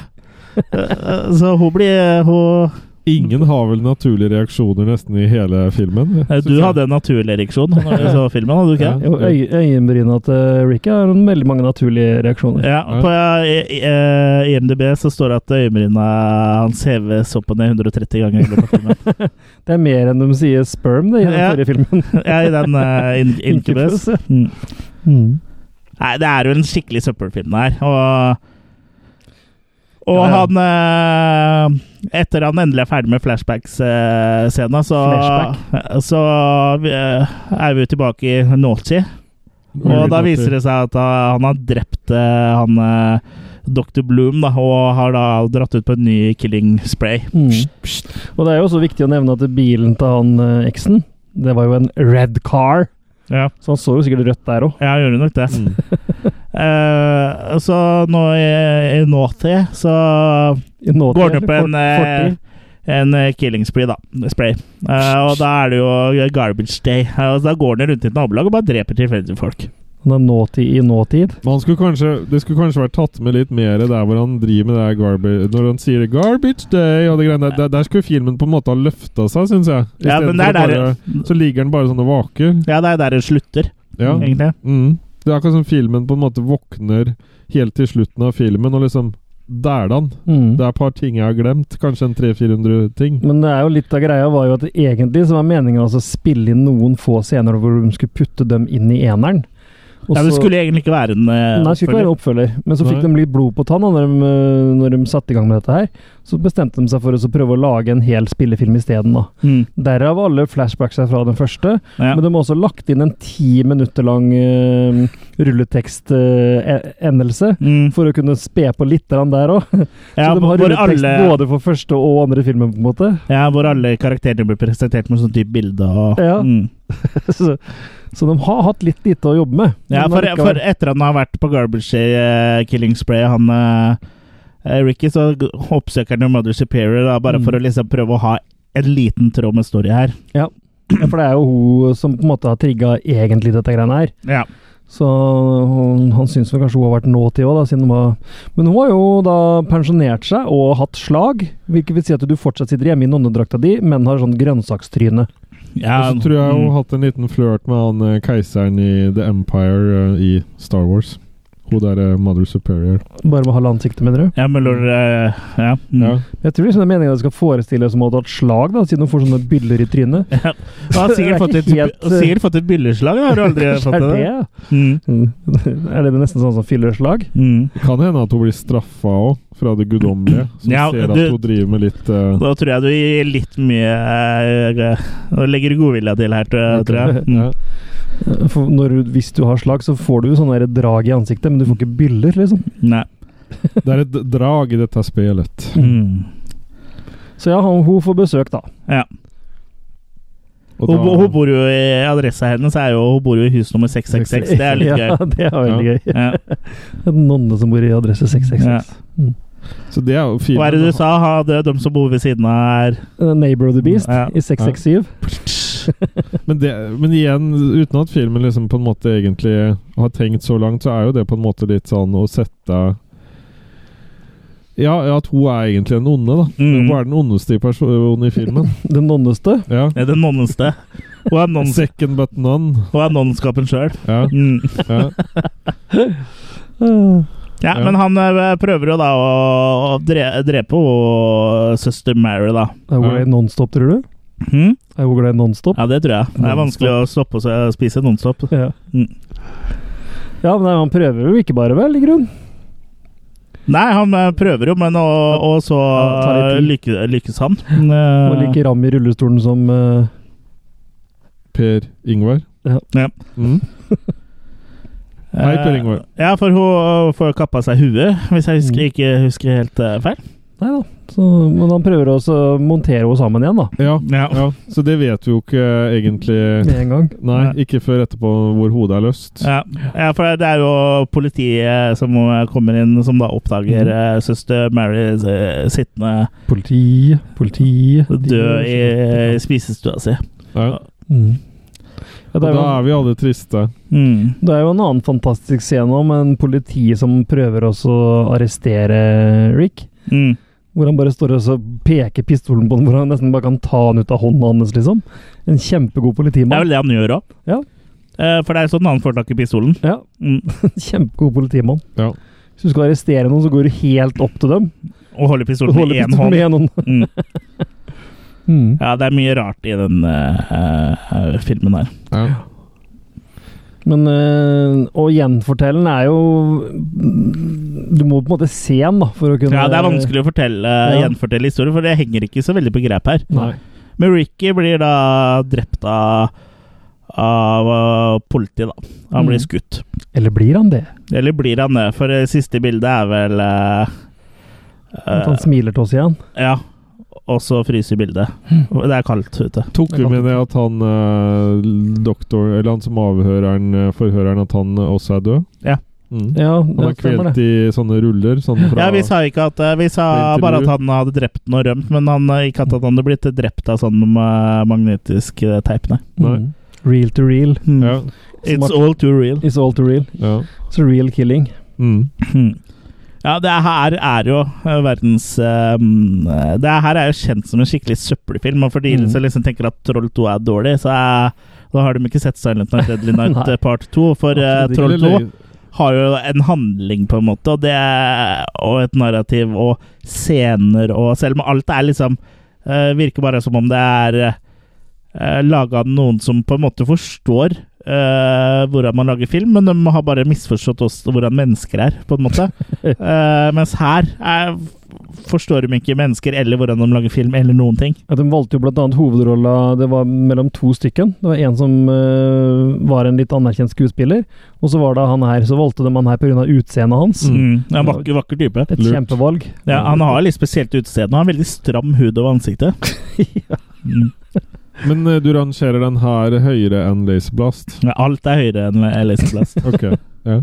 S2: Så hun blir eh, hun,
S3: Ingen har vel naturlige reaksjoner nesten i hele filmen.
S2: eh, Du hadde en naturlig ereksjon når du så filmen, hadde du ikke?
S3: Ja.
S2: Ja.
S4: Jo, øy Øyenbryna til Ricky har veldig mange naturlige reaksjoner.
S2: på eh, i- eh, IMDb så står det at øyenbryna hans heves opp og ned 130 ganger. i løpet av filmen.
S4: Det er mer enn de sier sperm det, i den
S2: Ja.
S4: forrige filmen.
S2: Ja, I den eh, in Incubus.
S4: Incubus,
S2: Mm.
S4: Mm.
S2: Nei, det er jo en skikkelig søppelfilm der, og og
S4: Ja, ja.
S2: han eh, Etter han endelig er ferdig med flashbacks-scena, så, så eh, er vi jo tilbake i nåtid. Og da viser det seg at ah, han har drept eh, han eh, Dr. Bloom, da, og har da dratt ut på en ny killing spray.
S4: Mm. Og det er jo også viktig å nevne at bilen til han eh, eksen, det var jo en red car.
S2: Ja,
S4: Så han så jo sikkert rødt der òg.
S2: jeg gjorde nok det.
S3: Mm.
S2: Eh, så nå i, i nåtid så går han jo på en, eh, en eh, killing spray, da. Spray. Eh, og da er det jo garbage day. Eh, og da går han rundt i et nabolag og bare dreper tilfeldige folk.
S4: Han er nåtid i nåtid.
S3: Man skulle kanskje, det skulle kanskje vært tatt med litt mer der hvor han driver med det her garbage Når han sier 'garbage day' og det greiene der, der, der skulle filmen på en måte ha løfta seg, syns jeg. I
S2: Ja,
S3: stedet
S2: men det er der-
S3: for å bare, så ligger han bare sånn og vaker.
S2: Ja, det er der det slutter,
S3: Ja.
S2: egentlig.
S3: Mm. Det er akkurat som filmen på en måte våkner helt til slutten av filmen og liksom dælan.
S4: Mm.
S3: Det er et par ting jeg har glemt. Kanskje en 300-400 ting.
S4: Men det er jo litt av greia var jo at det egentlig så var meninga altså å spille inn noen få scener hvor de skulle putte dem inn i eneren. Og
S2: Ja, det
S4: så-
S2: skulle egentlig ikke være en eh,
S4: Nei, det skulle ikke være en oppfølger. Men så
S3: Nei.
S4: fikk de litt blod på tann da når de, øh, når de satte i gang med dette her. Så bestemte de seg for å så prøve å lage en hel spillefilm isteden. da.
S2: Mm,
S4: Derav alle flashbacksa fra den første.
S2: ja.
S4: Men de har også lagt inn en ti minutter lang øh, rulletekstendelse.
S2: Mm,
S4: e, for å kunne spe på litt grann der òg. Så
S2: ja,
S4: de har
S2: hvor,
S4: rulletekst
S2: alle,
S4: både for første og andre filmen, på en måte.
S2: ja, hvor alle karakterene blir presentert med sånn type bilde og
S4: Ja.
S2: mm.
S4: Så, så de har hatt litt lite å jobbe med.
S2: Ja,
S4: Men
S2: for,
S4: allikevel-
S2: for etter han har vært på Garbage Day eh, Killing Spray, han eh, eh, Ricky, så g- oppsøker han jo Mother Superior da, bare
S4: Mm.
S2: for å liksom prøve å ha en liten tråd med story her.
S4: Ja, for det er jo hun som på en måte har trigga egentlig dette greiene her.
S2: Ja.
S4: Så hun, han syns vel kanskje hun har vært nåtid òg, da, siden hun har Men hun har jo da pensjonert seg og hatt slag, hvilket vil si at du fortsatt sitter hjemme i nonnedrakta di, men har sånn grønnsakstryne.
S2: ja
S3: Og så tror jeg hun
S2: mm.
S3: har hatt en liten flørt med han eh, keiseren i The Empire eh, i Star Wars. Hun derre Mother Superior.
S4: Bare med halve ansiktet, mener du?
S2: Ja, men lord, eh, ja. Mm.
S3: Ja.
S4: Jeg tror liksom det er meningen at det skal forestille som om hun har hatt slag, da, siden hun får sånne byller i trynet.
S2: Han har
S4: Det er
S2: sikkert fått et,
S4: ikke helt, eh,
S2: sikkert fått et bylleslag, har du aldri fått
S4: er
S2: det? Mm.
S4: det? Er det nesten sånn som fillerslag?
S2: Mm.
S3: Det kan hende at hun blir straffa òg, fra det guddommelige. Som
S2: Ja,
S3: ser at
S2: du-
S3: hun driver med litt eh,
S2: Da tror jeg du gir litt mye eh, Nå legger du godvilja til her, tror jeg. Tror jeg. Mm.
S3: ja.
S4: For når, du- hvis du har slag, så får du sånne der drag i ansiktet, men du får ikke byller, liksom.
S2: Nei.
S3: Det er et drag i dette spillet.
S2: Mm.
S4: Så ja, hun hun får besøk, da.
S3: Og
S2: Hun,
S3: da-
S2: hun bor jo i Adressa hennes er jo Hun bor jo i hus nummer 666. Det er litt
S4: ja,
S2: gøy.
S4: det er veldig
S3: Ja.
S4: gøy.
S2: Ja.
S4: En nonne som bor i adresse 666.
S3: så det er jo fint.
S2: Hva er det du sa? Ha, det er de som bor ved siden av her
S4: The Eh, Neighbor of the Beast
S2: Ja.
S4: i 667.
S3: Men, det, men igjen, uten at filmen liksom på en måte egentlig har tenkt så langt, så er jo det på en måte litt sånn å sette Ja, ja, at hun er egentlig en onde, da.
S2: Mm.
S3: Hun er den ondeste i personen i filmen.
S4: Den nonneste.
S3: Ja.
S2: Det er den nonneste. Hun er nonn-
S3: Second but none.
S2: hun er nonnskapen sjøl.
S3: Ja,
S2: Mm.
S3: ja.
S4: Eh,
S2: Ja,
S3: Ja.
S2: men han eh, prøver jo da å, å dre, drepe hun søster Mary, da.
S4: Er hun
S3: Ja.
S4: glad i Nonstop, tror du?
S2: Hm?
S4: Er hun glad i Nonstop?
S2: Ja, det tror jeg. Det er vanskelig å stoppe å se- spise nonstop.
S4: Ja.
S2: Mm.
S4: Ja, men nei, han prøver jo ikke bare, vel, i grunn?
S2: Nei, han eh, prøver jo, men og, og så
S4: Ja, det tar litt
S2: lykke, lykkes han. Eh.
S4: Og like ram i rullestolen som eh,
S3: Per Ingvar.
S4: Ja.
S2: Ja.
S3: Mm. Hei, Per
S2: Eh,
S3: Ingvar.
S2: Ja, for hun eh, får jo kappa seg huet, hvis jeg husker, ikke husker helt eh, feil.
S4: Nei da. Så, men han prøver også å montere henne sammen igjen, da.
S3: Ja,
S2: Ja.
S3: ja, så det vet vi jo ikke egentlig
S4: Med en gang.
S3: Nei, ikke før etterpå hvor hodet er løst.
S2: Ja. ja, for det er jo politiet eh, som kommer inn, som da oppdager eh, søster Mary eh, sittende
S4: Politi, politi
S2: død i eh, spisestua si.
S3: Ja.
S4: Mm. Ja,
S3: Og
S4: det er
S3: da
S4: jo,
S3: er vi alle triste.
S2: Mm.
S4: det er jo en annen fantastisk scene om en politi som prøver også å arrestere Rick.
S2: Mm.
S4: Hvor han bare står og så peker pistolen på den, hvor han nesten bare kan ta den ut av hånda hans, liksom. En kjempegod
S2: Det er
S4: politimann.
S2: vel det han gjør òg.
S4: Ja.
S2: For det er sånn han får tak i pistolen.
S4: Ja,
S2: Mm.
S4: en kjempegod politimann.
S3: Ja.
S4: Hvis du skal arrestere noen, så går du helt opp til dem.
S2: Og holder
S4: Og
S2: pistolen med
S4: holder
S2: én
S4: pistolen
S2: hånd.
S4: med en hånd.
S2: Mm.
S4: Mm.
S2: Ja, det er mye rart i den eh, eh, filmen her.
S3: Ja.
S4: Men øh, å gjenfortelle den er jo Du må på en måte se den, da, for å kunne
S2: Ja, Det er vanskelig å fortelle, eh,
S4: Ja.
S2: gjenfortelle historier, for det henger ikke så veldig på grep her.
S4: Nei.
S2: Men Ricky blir da drept av, av eh, politiet, da. Han blir
S4: Mm.
S2: skutt.
S4: Eller blir han det?
S2: Eller blir han det? For det siste bildet er vel eh,
S4: At han
S2: eh,
S4: smiler til oss igjen?
S2: Ja. Og så fryser bildet.
S4: Hmm.
S2: Det er kaldt ute.
S3: Tok vi med det at han eh, doktor, eller han som avhører han, eh, forhøreren, at han eh, også er død?
S2: Ja.
S3: Mm.
S4: Ja,
S3: Han
S4: det
S3: er
S4: stemmer
S3: kvelt
S4: det.
S3: i sånne ruller. Sånn fra,
S2: Ja, Vi sa ikke at eh, Vi sa
S3: Intervju.
S2: bare at han hadde drept den og rømt, men han, eh, ikke at han hadde blitt drept av sånn eh, magnetisk eh, teip, nei.
S3: Nei.
S4: Mm. Real to real.
S2: Mm.
S3: ja,
S2: It's all too real.
S4: It's all to real.
S3: ja.
S4: It's a real killing.
S3: Mm.
S2: Mm. Ja, det her er jo eh, verdens eh, mm, Det her er jo kjent som en skikkelig søppelfilm, og for de
S4: Mm.
S2: som liksom tenker at Troll 2 er dårlig, så er, da har de ikke sett Silent Night Deadly Night
S4: Nei.
S2: eh, Part 2, for eh,
S4: Absolutt ikke.
S2: Troll 2
S3: Eller,
S2: har jo en handling, på en måte, og, det, og et narrativ og scener og Selv om alt er liksom eh, Virker bare som om det er uh, laga av noen som på en måte forstår eh, hvordan man lager film, men de har bare misforstått oss hvordan mennesker er, på en måte. Eh, mens her er, forstår de ikke mennesker eller hvordan de lager film, eller noen ting.
S4: Ja, de valgte jo bl.a. hovedrolla Det var mellom to stykken. Det var en som eh, var en litt anerkjent skuespiller, og så var det han her. Så valgte de han her pga. utseendet hans.
S2: Mm. Ja, vakker, vakker type.
S4: Et kjempevalg.
S2: Ja, han har litt spesielt utseende. Han har veldig stram hud over ansiktet. Mm.
S3: Men eh, du rangerer den her høyere enn Laserblast?
S2: Men Alt er høyere enn Eliseblast.
S3: Ok. ja.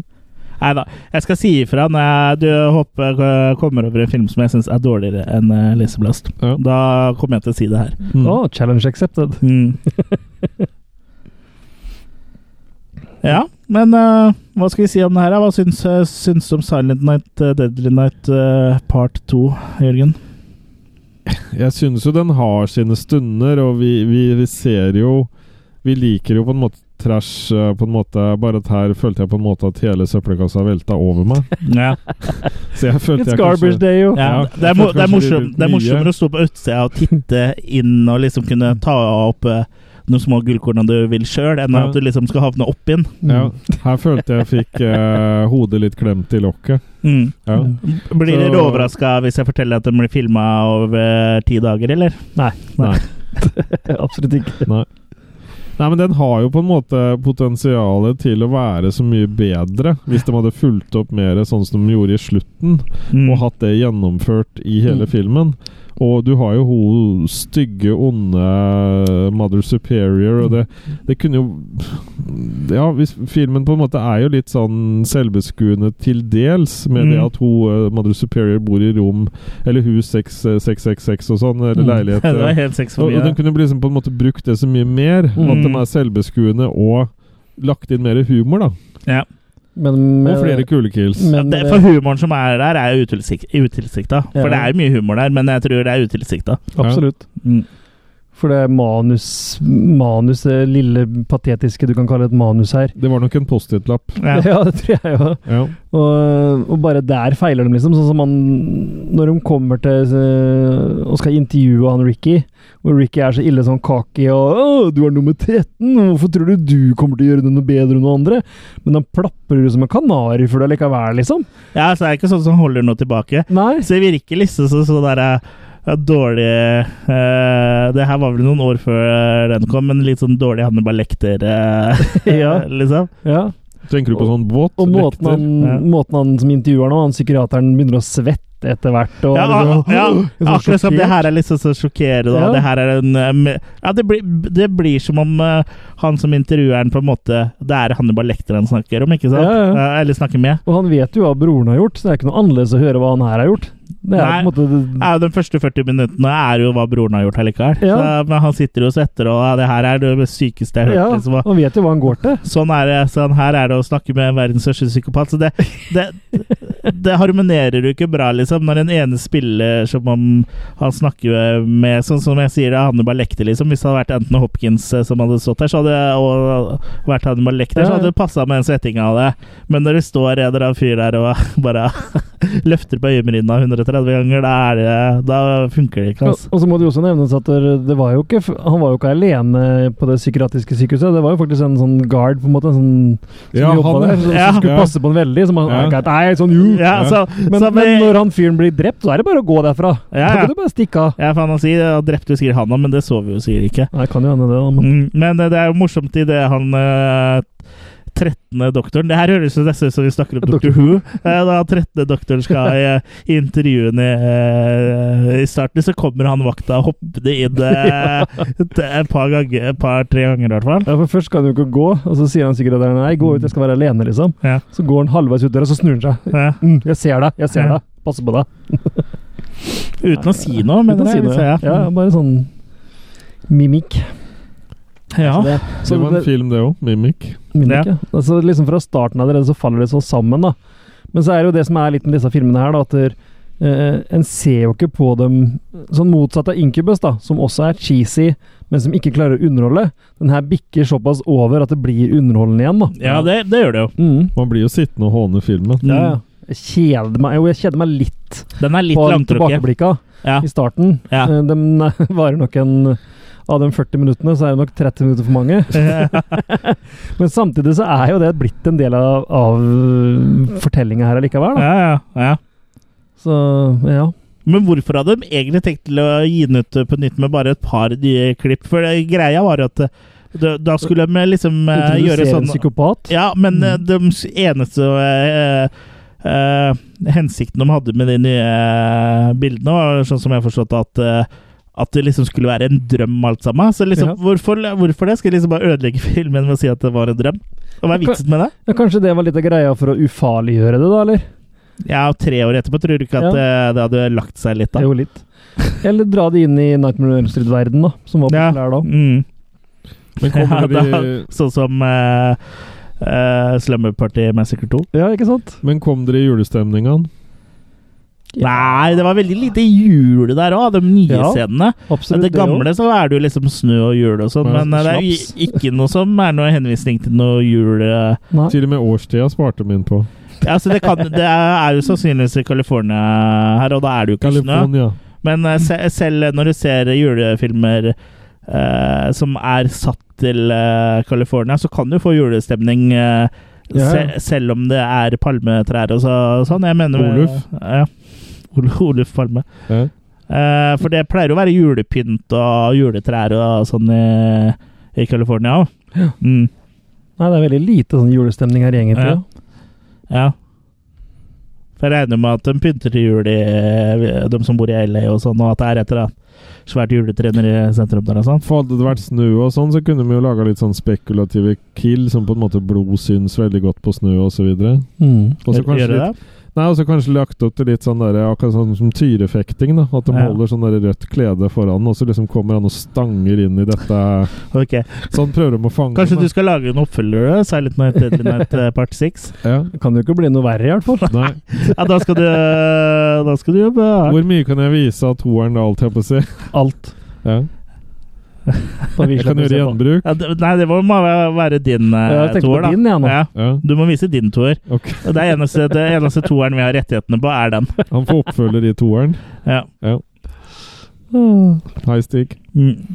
S2: Nei da. Jeg skal si ifra når jeg du håper jeg kommer over en film som jeg syns er dårligere enn Eliseblast.
S3: Ja.
S2: Da kommer jeg til å si det her.
S3: Mm.
S4: Å, challenge accepted.
S2: Mm. ja, men eh, hva skal vi si om det her? da? Hva syns, eh, syns du om Silent Night, eh, Deadly Night eh, part 2, Jørgen?
S3: Jeg synes jo den har sine stunder, og vi, vi, vi ser jo Vi liker jo på en måte trash, eh, på en måte, bare at her følte jeg på en måte at hele søppelkassa velta over meg.
S2: Ja.
S3: Så jeg følte
S4: It's
S3: jeg
S4: garbage day, jo.
S2: Ja,
S3: Ja,
S2: det, er, mo-
S3: jeg tror
S2: det, er
S3: kanskje det
S2: morsom,
S3: blir
S2: det er morsommere
S3: mye.
S2: å stå på utsida og titte inn og liksom kunne ta opp eh, noen små gullkorn du vil sjøl, enn
S3: Ja.
S2: at du liksom skal havne opp igjen.
S3: Ja, her følte jeg fikk eh, hodet litt klemt i lokket.
S2: Mm.
S3: Ja.
S2: Blir dere
S3: Så-
S2: overraska hvis jeg forteller at den blir filma over eh, ti dager, eller?
S4: Nei.
S3: Nei.
S4: Absolutt ikke.
S3: Nei. Nei, men den har jo på en måte potensialet til å være så mye bedre, hvis de hadde fulgt opp mer sånn som de gjorde i slutten,
S2: Mm.
S3: og hatt det gjennomført i hele
S2: Mm.
S3: filmen. Og du har jo hun stygge, onde Mother Superior, og det, det kunne jo Ja, hvis filmen på en måte er jo litt sånn selvbeskuende til dels, med det
S2: Mm.
S3: at hun eh, Mother Superior bor i rom, eller eh, hus 666 og sånn, eller leilighet.
S2: Mm. det var helt sex for
S3: Og, og
S2: mye. Mm.
S3: den kunne bli liksom på en måte brukt det så mye mer. At de er selvbeskuende og lagt inn mer humor, da.
S2: Ja.
S4: Men eh,
S3: Og flere kulekills.
S2: Ja,
S4: men, eh,
S2: det, for humoren som er der, er utilsikta. For
S4: Ja.
S2: det er jo mye humor der, men jeg tror det er utilsikta.
S4: Absolutt.
S2: Mm.
S4: For det er manus, manus, det lille patetiske du kan kalle et manus her.
S3: Det var nok en Post-It-lapp.
S2: Ja.
S4: ja det tror jeg jo.
S3: Ja.
S4: Og, og bare der feiler de, liksom. Sånn som han Når de kommer til eh, og skal intervjue han Ricky, og Ricky er så ille sånn cocky og «Å, 'Du er nummer 13, hvorfor tror du du kommer til å gjøre det noe bedre enn noen andre?' Men han plaprer jo som en kanarifugl allikevel, liksom.
S2: ja, så det er ikke sånn som holder noe tilbake.
S4: Nei.
S2: Så det virker liksom som sånn der eh, dårlig eh, Det her var vel noen år før eh, den kom, men litt sånn dårlig Hannibal Lekter, eh,
S4: Ja.
S2: liksom.
S4: Ja.
S3: Tenker du på sånn båt?
S4: Og måten han,
S2: Ja.
S4: måten han som intervjuer nå, han psykiateren begynner å svette etter hvert. Og, liksom,
S2: Ja, a- ja,
S4: Jeg er så
S2: akkurat som det
S4: sjokkert.
S2: her er liksom så sjokkerende.
S4: Ja.
S2: og Det her er en eh, me- Ja, det blir, det blir som om eh, han som intervjueren på en måte Det er Hannibal Lekter han snakker om, ikke sant?
S4: Ja, ja.
S2: Eh, Eller snakker med.
S4: Og han vet jo hva broren har gjort, så det er ikke noe annerledes å høre hva han her har gjort. Det er
S2: Nei.
S4: på en måte
S2: Ja, de første 40 minuttene er jo hva broren har gjort allikevel.
S4: Ja.
S2: Så, Men han sitter jo og svetter, og ja, det her er det sykeste jeg har hørt.
S4: ja,
S2: Liksom, og,
S4: Han vet jo hva han går til.
S2: Sånn er det. Sånn her er det å snakke med verdens største psykopat. Så det, det, det harmonerer jo ikke bra, liksom, når den ene spiller som om han snakker med Sånn som jeg sier, det er Hannibal Lekter, liksom. Hvis det hadde vært Anthony Hopkins eh, som hadde stått her, så hadde og vært Hannibal Lekter,
S4: Ja,
S2: så
S4: ja.
S2: hadde det passa med den svettinga av det. Men når det står en eller annen fyr der og bare løfter på øyenbryna 130 ganger, da, er det, da funker det ikke,
S4: Og,
S2: altså.
S4: og så må det jo også nevnes at det- det var jo ikke, f- han var jo ikke alene på det psykiatriske sykehuset. Det var jo faktisk en sånn guard, på en måte, en sånn, som
S3: Ja,
S4: jobba
S3: han-
S4: der, som,
S2: ja.
S4: som skulle passe på han veldig. Som han,
S3: Ja.
S4: han, nei, sånn, jo.
S2: Ja, så,
S4: Men,
S2: så vi-
S4: men når han fyren blir drept, så er det bare å gå derfra.
S2: Ja,
S4: Da
S2: ja.
S4: kan du bare stikke av.
S2: ja, faen å si, jeg drepte jo sikkert han òg, men det så vi jo sikkert ikke.
S4: Nei, kan jo hende det. da, Men,
S2: Mm, Men eh, det er jo morsomt i det han eh, 13. doktoren Det her høres jo nesten ut som vi snakker om Doctor Who. Eh, Da 13. doktoren skal i, eh, i intervjuene eh, i starten, så kommer han vakta hoppende inn eh, et et par ganger, et par-tre ganger i hvert fall.
S4: ja, for Først kan du ikke gå, og så sier han sikkert at han, nei, gå ut, jeg skal være alene. liksom.
S2: Ja.
S4: Så går han halvveis ut der, og så snur han seg.
S2: Ja.
S4: Mm, jeg ser deg, jeg ser
S2: Ja.
S4: deg. Passe på deg.
S2: Uten å si noe, men
S4: Uten å si noe.
S2: Ja.
S4: Ja, bare sånn mimikk.
S2: Ja.
S4: Det, så
S3: Det var en
S4: det,
S3: film, det òg. Mimic.
S2: Ja.
S4: mimikk, ja. Altså, liksom fra starten allerede så faller det så sammen, da. Men så er det jo det som er litt med disse filmene her, da, at der, eh, en ser jo ikke på dem Sånn motsatt av Incubus, da, som også er cheesy, men som ikke klarer å underholde. Den her bikker såpass over at det blir underholdende igjen, da.
S2: Ja, det, det gjør det jo.
S4: Mm.
S3: Man blir jo sittende og håne filmen.
S4: Ja, ja. Jeg kjeder meg, jo, jeg kjeder meg litt,
S2: Den er litt
S4: på
S2: langtrukket.
S4: tilbakeblikka
S2: Ja.
S4: i starten.
S2: Ja.
S4: Eh, Den varer nok en Av de 40 minuttene så er det nok 30 minutter for mange. Men samtidig så er jo det blitt en del av, av fortellinga her allikevel. Da.
S2: Ja, ja, ja.
S4: Så ja.
S2: Men hvorfor hadde de egentlig tenkt til å gi den ut eh, på nytt med bare et par nye klipp? For det, greia var jo at eh, da, da skulle de liksom eh, gjøre
S4: Introdusere en
S2: sånn
S4: psykopat. Mm.
S2: Ja, men eh, de s- eneste eh, eh, hensikten de hadde med de nye eh, bildene, var sånn som jeg forstått at eh, at det liksom skulle være en drøm, alt sammen. Så liksom,
S4: Ja.
S2: hvorfor, hvorfor det? Skal jeg liksom bare ødelegge filmen med å si at det var en drøm? Og Hva er vitsen med det?
S4: Ja, kanskje det var litt av greia for å ufarliggjøre det, da, eller?
S2: Ja, og tre år etterpå tror du ikke at
S4: Ja.
S2: eh, det hadde lagt seg litt, da?
S4: Jo, litt. Eller dra det inn i Nightmare on Elm Street-verden, da, som var
S2: Ja.
S4: populær da.
S2: Mm.
S3: Men kommer
S2: Ja,
S3: de,
S2: da- Sånn som eh, eh, Slumber Party Massacre 2.
S4: Ja, ikke sant?
S3: men kom dere i julestemninga?
S2: Nei, det var veldig lite jul der òg, de nye
S4: Ja,
S2: scenene.
S4: Absolutt.
S2: det
S4: også.
S2: gamle så er det jo liksom snø og jul og sånn,
S3: Ja,
S2: men eh, det er jo
S3: snaps.
S2: i- ikke noe som er noe henvisning til noe jul. eh.
S4: Nei.
S3: Til og med årstida sparte min på.
S2: Ja, så det, kan, det er jo sannsynligvis i California her, og da er det jo ikke snø.
S3: California.
S2: Men eh, se, selv når du ser julefilmer eh, som er satt til eh, California, så kan du få julestemning eh,
S4: Ja, ja.
S2: se, selv om det er palmetrær og, så, og sånn. Jeg mener
S3: Oluf.
S2: Ja. Ol Oluf Palme.
S3: Ja.
S2: Eh, for det pleier å være julepynt og juletrær og sånn i, i California òg. Mm,
S4: Nei, det er veldig lite sånn julestemning her, egentlig.
S2: Ja. ja. For jeg regner med at de pynter til jul, i, eh, de som bor i LA og sånn, og at det er et eller annet svært juletre nede i sentrum der og sånn.
S3: For hadde det vært snø og sånn, så kunne vi jo laga litt sånn spekulative kill, som på en måte blod syns veldig godt på snø og så videre.
S4: Mm.
S3: Og så kanskje
S2: Gjør det
S3: litt- Nei, og så kanskje lagt opp til litt sånn der, akkurat sånn som tyrefekting. da At de
S2: Ja.
S3: holder sånn der rødt klede foran, og så liksom kommer han og stanger inn i dette
S2: det? Ok.
S3: Sånn prøver de å fange
S2: Kanskje
S3: den,
S2: du skal lage en oppfølger? Silent Night, Deadly Night eh, Part 6?
S3: da. ja.
S4: Det kan jo ikke bli noe verre, i hvert fall.
S3: Nei.
S2: Ja, da skal du, eh, da skal du jobbe hardt.
S3: Hvor mye kan jeg vise av toeren da, alt jeg på å si?
S4: Alt.
S3: Ja.
S4: Bare vi
S3: Jeg kan
S4: slipper å
S3: gjøre
S4: se på.
S3: gjenbruk.
S2: Ja, det- nei, det må være være din
S4: Ja,
S2: uh,
S4: jeg tenker
S2: toer, da.
S4: på din, jeg nå.
S2: Ja,
S3: Ja,
S2: du må vise din toer.
S3: ok.
S2: Og Det er eneste, det eneste toeren vi har rettighetene på, er den.
S3: Han får oppfølger i toeren.
S2: Ja.
S4: Mm.
S3: High stick.
S2: Mm.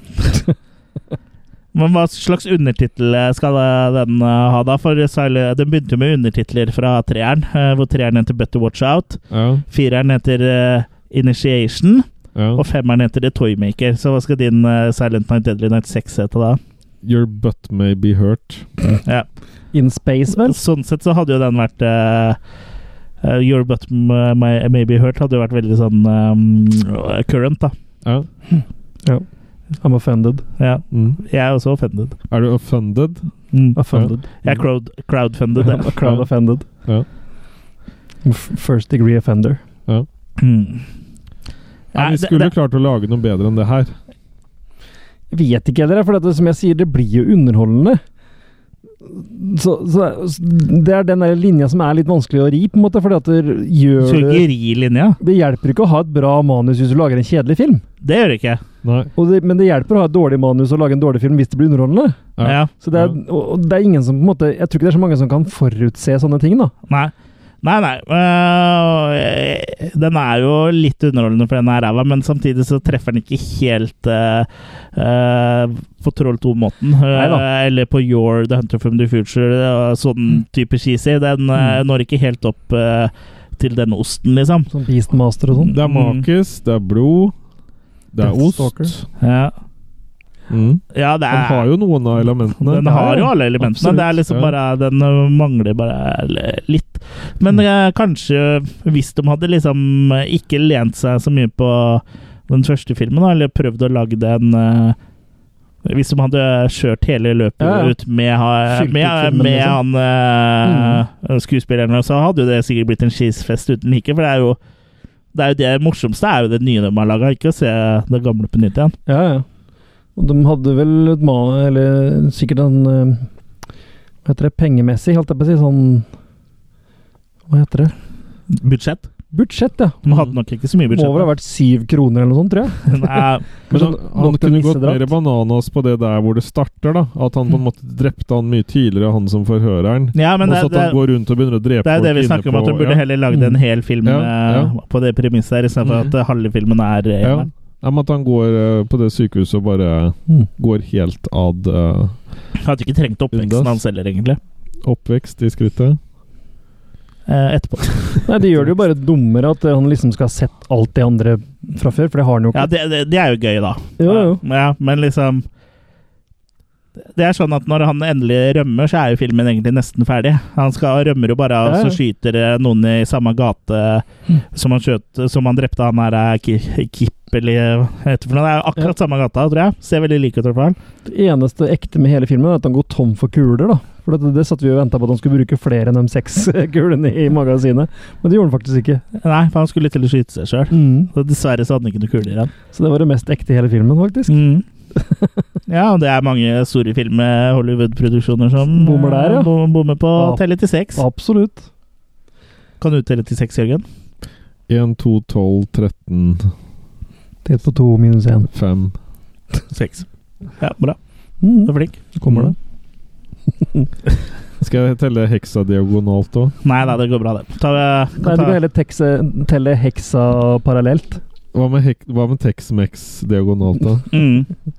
S2: Men hva slags undertittel skal den eh, ha, da? For Silent- Den begynte jo med undertitler fra treeren, eh, hvor treeren heter Better Watch Out.
S3: Ja,
S2: Fireren heter eh, Initiation,
S3: ja.
S2: og femmeren heter The Toymaker. Så hva skal din eh, Silent Night Deadly Night 6 hete, da?
S3: Your butt may be hurt.
S2: Ja.
S4: In space, vel?
S2: Sånn sett så hadde jo den vært eh, eh, Your Butt M- My- eh, Maybe Hurt hadde jo vært veldig sånn eh, current, da.
S3: Ja.
S4: I'm offended.
S2: Ja.
S3: Mm.
S2: Jeg er også offended.
S3: Er du offended?
S2: Mm.
S4: Offended.
S2: Jeg er crowd, crowdfunded.
S4: I'm a
S2: jeg.
S4: crowd offended.
S3: Ja.
S4: F- First degree offender.
S2: Mm.
S3: Nei,
S2: Nei, det-
S3: vi skulle
S2: det-
S3: klart å lage noe bedre enn det her.
S4: Vet ikke heller, for det, som jeg sier, det blir jo underholdende. Så, så Det er den der linja som er litt vanskelig å ri, på en måte. Fordi at det
S2: Du
S4: gjør
S2: skal
S4: det
S2: ikke ri linja.
S4: Det hjelper ikke å ha et bra manus hvis du lager en kjedelig film.
S2: Det gjør du ikke.
S3: Nei.
S4: Og det, men det hjelper å ha et dårlig manus og lage en dårlig film hvis det blir underholdende.
S3: Ja.
S2: Ja.
S4: Så det er, og, og det er ingen som på en måte Jeg tror ikke det er så mange som kan forutse sånne ting, da.
S2: Nei. Nei, nei. øh, den er jo litt underholdende for den her ræva, men samtidig så treffer den ikke helt øh, øh, på Troll 2-måten.
S4: Neida.
S2: eller på Your The Hunter from the Future, øh,
S3: Mm.
S2: sånn type cheesy. Den øh, når ikke helt opp øh, til den osten, liksom.
S4: Sånn Beastmaster og
S2: Mm.
S4: sånn.
S3: Det er makis, det er blod, det er
S4: Deathstalker.
S3: ost.
S2: Ja,
S3: Mm.
S2: ja det
S3: Den
S2: er
S3: har jo noen av elementene.
S2: Den har jo alle elementene.
S3: Absolutt,
S2: det er liksom
S3: ja.
S2: bare, den øh, mangler bare l- litt.
S4: Mm.
S2: Men eh, kanskje hvis de hadde liksom eh, ikke lent seg så mye på den første filmen, da, eller prøvd å lage den eh, Hvis de hadde kjørt hele løpet
S4: Ja, ja.
S2: ut med, ha-
S4: Fylt ut
S2: med,
S4: filmen,
S2: med
S4: liksom. Mm.
S2: han eh, skuespilleren, så hadde jo det sikkert blitt en cheesefest uten like. For det er jo det, er jo det morsomste er jo det nye de har laga, ikke å se det gamle på nytt igjen.
S4: Ja, ja. Og de hadde vel et ma... Eller sikkert en eh, Hva heter det? Pengemessig, holdt jeg på å si. Sånn Hva heter det?
S2: Budsjett.
S4: Budsjett, ja.
S2: De hadde nok ikke så mye
S4: Må vel ha
S2: budsjett.
S4: vært syv kroner eller noe sånt, tror jeg.
S2: Nei,
S3: Men han,
S4: Kanskje
S3: han
S4: nok til
S3: kunne gått
S4: nissedrakt.
S3: mer bananas på det der hvor det starter, da. At han på en måte drepte han mye tidligere, han som forhøreren.
S2: ja, men
S3: Og
S2: det,
S3: så at
S2: det,
S3: han går rundt og begynner å drepe
S2: det er jo det vi
S3: folk
S2: snakker om,
S3: inne
S2: at du
S3: på-
S2: burde
S3: ja.
S2: heller lagd
S4: Mm.
S2: en hel film
S3: Ja,
S2: eh,
S3: ja. Mm.
S2: på det premisset her, istedenfor at eh, halve filmen er eh,
S3: Ja.
S2: eneren.
S3: Ja, men at han går eh, på det sykehuset og bare
S4: Mm.
S3: går helt ad eh,
S2: Jeg Hadde ikke trengt oppveksten
S3: Undas.
S2: hans heller, egentlig.
S3: oppvekst i skrittet.
S2: Eh, etterpå.
S4: Nei, det gjør det jo bare dummere at eh, han liksom skal ha sett alt det andre fra før, for det har han jo
S2: Ja,
S4: ikke.
S2: det, det, det er jo gøy, da.
S4: Jo, jo.
S2: Ja, men liksom Det er sånn at når han endelig rømmer, så er jo filmen egentlig nesten ferdig. Han skal rømmer jo bare, og
S4: Ja, Mm. ja.
S2: så skyter eh, noen i samme gate som han, skjøt, som han drepte han her eh, Ki- Kipp eller hva heter det for noe. Det er jo akkurat samme gata, tror jeg. Ser veldig lik ut, i hvert fall.
S4: Det eneste ekte med hele filmen er at han går tom for kuler, da. For det, det satt vi og venta på at han skulle bruke flere enn de seks kulene i magasinet, men det gjorde han faktisk ikke.
S2: Nei, for han skulle til å skyte seg sjøl.
S4: Mm.
S2: Dessverre så hadde han ikke noe kuler igjen.
S4: Så det var det mest ekte i hele filmen, faktisk.
S2: Ja, og det er mange store filmer, Hollywood-produksjoner, som eh,
S4: Bommer der, ja.
S2: bom- Bommer på å
S4: Ja.
S2: telle til seks.
S4: Absolutt.
S2: Kan du telle til seks, Jørgen?
S3: 1, 2, 12, 13,
S4: Delt på to minus én.
S3: 5
S2: Seks. Ja, bra. Du
S4: Mm.
S2: er flink.
S3: Kommer det? Skal jeg telle heksa diagonalt òg?
S2: Nei da, det går bra, det. Ta, kan
S4: Nei, du
S2: ta,
S4: kan heller tekse, telle eh, heksa parallelt.
S3: Hva med, hek- hva med Tex-Mex diagonalt, da?
S2: mm.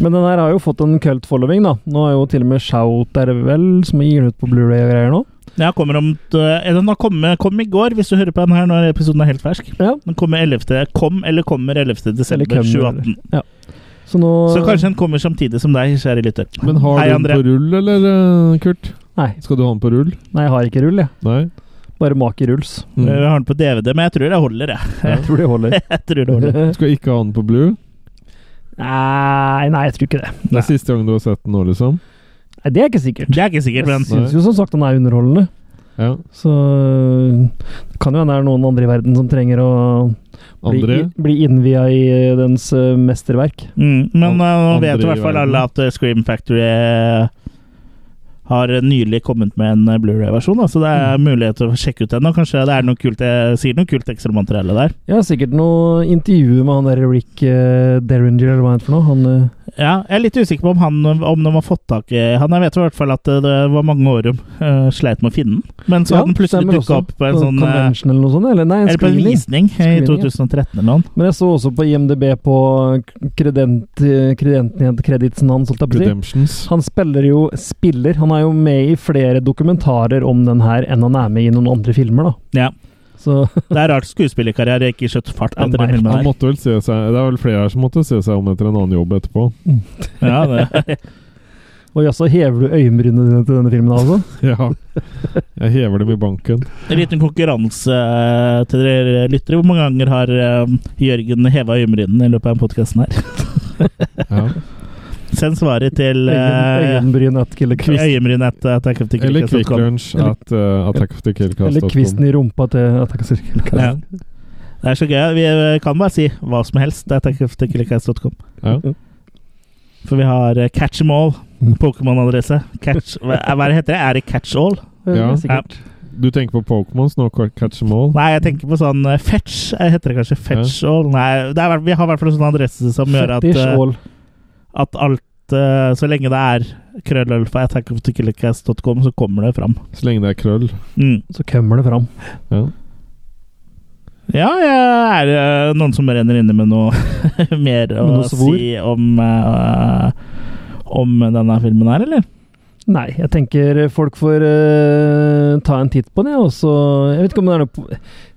S4: Men den her har jo fått en cult following, da. Nå er jo til og med Shout er det vel, som gir den ut på Blu-ray og greier nå.
S2: Ja, kommer om t- eller Den har kommet kom i går, hvis du hører på den her når episoden er helt fersk.
S4: Ja.
S2: Den kommer 11. Kom eller kommer 11. desember
S4: Eller kommer.
S2: 2018.
S4: Så nå
S2: Så kanskje den kommer samtidig som deg, kjære lytter.
S3: Men har
S2: Hei,
S3: du den
S2: André.
S3: på rull, eller eh, Kurt?
S4: Nei.
S3: Skal du ha den på rull?
S4: Nei, jeg har ikke rull, jeg.
S3: Nei?
S4: Bare makeruls.
S3: Mm.
S2: Jeg Eh, har den på DVD, men jeg tror det holder, jeg.
S4: Jeg tror det holder.
S2: jeg tror det holder.
S3: Skal ikke ha den på blue?
S4: nei, nei, jeg tror ikke det.
S3: Det er siste gang du har sett den nå, liksom?
S4: Nei, Det er ikke sikkert.
S2: Det er ikke sikkert,
S4: Jeg
S2: men
S4: syns jo som sagt den er underholdende.
S3: Ja.
S4: Så det kan jo hende det er noen andre i verden som trenger å bli,
S3: André?
S4: bli innvia i eh, dens eh, mesterverk.
S2: mm, Men eh, nå
S3: Andre
S2: vet i
S3: i
S2: hvert fall
S3: verden.
S2: alle at eh, Scream Factory eh, har nylig kommet med en eh, Blu-ray-versjon, da, så det er mulighet til å sjekke ut den. Og kanskje det er noe kult, jeg sier noe kult ekstramateriale der.
S4: Jeg har sikkert noe intervju med han der Rick eh, Derringer, eller hva han heter for noe. Han eh,
S2: Ja, jeg er litt usikker på om, han, om de har fått tak i han. Jeg vet i hvert fall at det, det var mange år de eh, sleit med å finne den. Men så
S4: Ja,
S2: hadde den plutselig
S4: stemmer
S2: dukka
S4: også.
S2: opp på en sånn eh,
S4: convention eller noe sånt? Eller nei, en
S2: Eller på en
S4: screening.
S2: visning i
S4: Screening, ja.
S2: 2013 eller noe.
S4: Men jeg så også på IMDb på kredent, kredenten, kreditsen hans, holdt jeg på å si.
S3: Redemptions.
S4: Han spiller jo spiller. Han er jo med i flere dokumentarer om den her enn han er med i noen andre filmer, da.
S2: Ja.
S4: Så
S2: Det er rart skuespillerkarriere ikke skjøt fart
S4: Ja,
S2: etter den
S4: nei,
S2: filmen
S3: Han
S2: her.
S3: måtte vel se seg Det er vel flere her som måtte se seg om etter en annen jobb etterpå.
S2: Ja, det,
S4: Og jaså, hever du øyenbrynene dine til denne filmen, altså?
S3: Ja. Jeg hever dem i banken.
S2: en liten konkurranse eh, til dere lyttere. Hvor mange ganger har eh, Jørgen heva øyenbrynene i løpet av podkasten her?
S3: Ja.
S2: Send svaret til eh,
S4: Øyenbryn at killer kvist.
S2: øyenbryn etter Attack of the
S3: Eller Quick
S2: Killer.com.
S3: Lunch at uh, Attack of the Killcast.
S4: Eller kvisten i rumpa til at jeg kan si-
S2: Ja. Det er så gøy. Vi eh, kan bare si hva som helst. Det er takkoftekillikast.com.
S3: Ja.
S2: For vi har eh, Catch Em All, Pokémon-adresse. Catch Hva eh, hva heter det? Er det Catch All?
S3: Ja.
S4: sikkert.
S3: Du tenker på Pokémons nå, Catch Em All?
S2: Nei, jeg tenker på sånn eh, Fetch. Eh, Heter det kanskje Fetch All? Nei, det er, i hvert- vi har i hvert fall en sånn adresse som gjør at,
S4: Fetish
S2: eh,
S4: all.
S2: at alt eh, Så lenge det er krøllølfa takkoftekillikast.com, så kommer det fram.
S3: Så lenge det er krøll.
S2: Mm.
S4: Så kommer det fram.
S3: Ja.
S2: Ja, jeg er eh, noen som renner inne med noe mer å
S4: noe svor?
S2: si om eh, om denne filmen her, eller?
S4: Nei, jeg tenker folk får eh, ta en titt på den, jeg, og så Jeg vet ikke om det er noe po-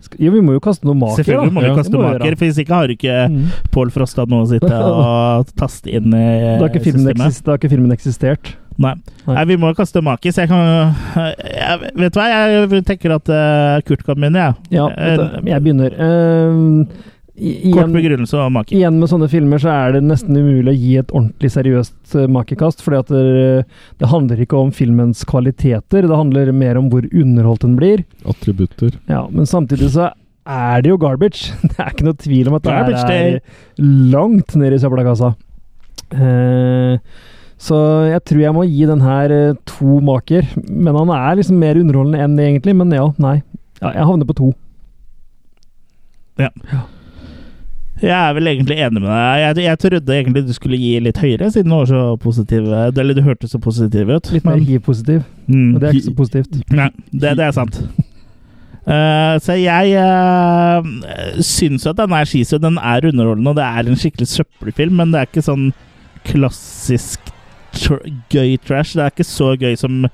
S4: Sk- Jo, vi må jo kaste noe maker,
S2: Selvfølgelig må vi
S3: Ja.
S2: kaste
S4: Det må vi
S2: maker, Eh,
S4: gjøre.
S2: for hvis ikke har du ikke
S4: da. Mm.
S2: Pål Frost hatt noe å sitte og taste inn i eh,
S4: Da har ikke filmen,
S2: systemet.
S4: eksist, da har ikke filmen eksistert.
S2: Nei.
S4: Nei.
S2: Nei, vi må kaste makis. Jeg kan eh, jeg, Vet du hva, jeg tenker at eh, Kurt kan begynne, jeg.
S4: Ja, vet
S2: Eh,
S4: du, jeg begynner. Eh, i-
S2: Kort
S4: igjen-
S2: begrunnelse av maki.
S4: Igjen med sånne filmer så er det nesten umulig å gi et ordentlig seriøst eh, makekast, fordi at det, det handler ikke om filmens kvaliteter, det handler mer om hvor underholdt den blir.
S3: Attributter.
S4: Ja, men samtidig så er det jo garbage. Det er ikke noe tvil om at det her
S2: Garbage day.
S4: er langt ned i søppelkassa. Eh, så jeg tror jeg må gi den her eh, to maker, men han er liksom mer underholdende enn det egentlig, men ja, nei. Ja, jeg havner på to.
S2: Ja. Jeg er vel egentlig enig med deg. Jeg, jeg trodde egentlig du skulle gi litt høyere, siden du var så positiv. Eller du hørtes så positiv ut.
S4: Litt mer hiv-positiv,
S2: Mm.
S4: og det er ikke så positivt.
S2: Nei, det, det er sant. Eh, så jeg eh, syns jo at denne skisu den er underholdende, og det er en skikkelig søppelfilm, men det er ikke sånn klassisk tr gøy trash. Det er ikke så gøy som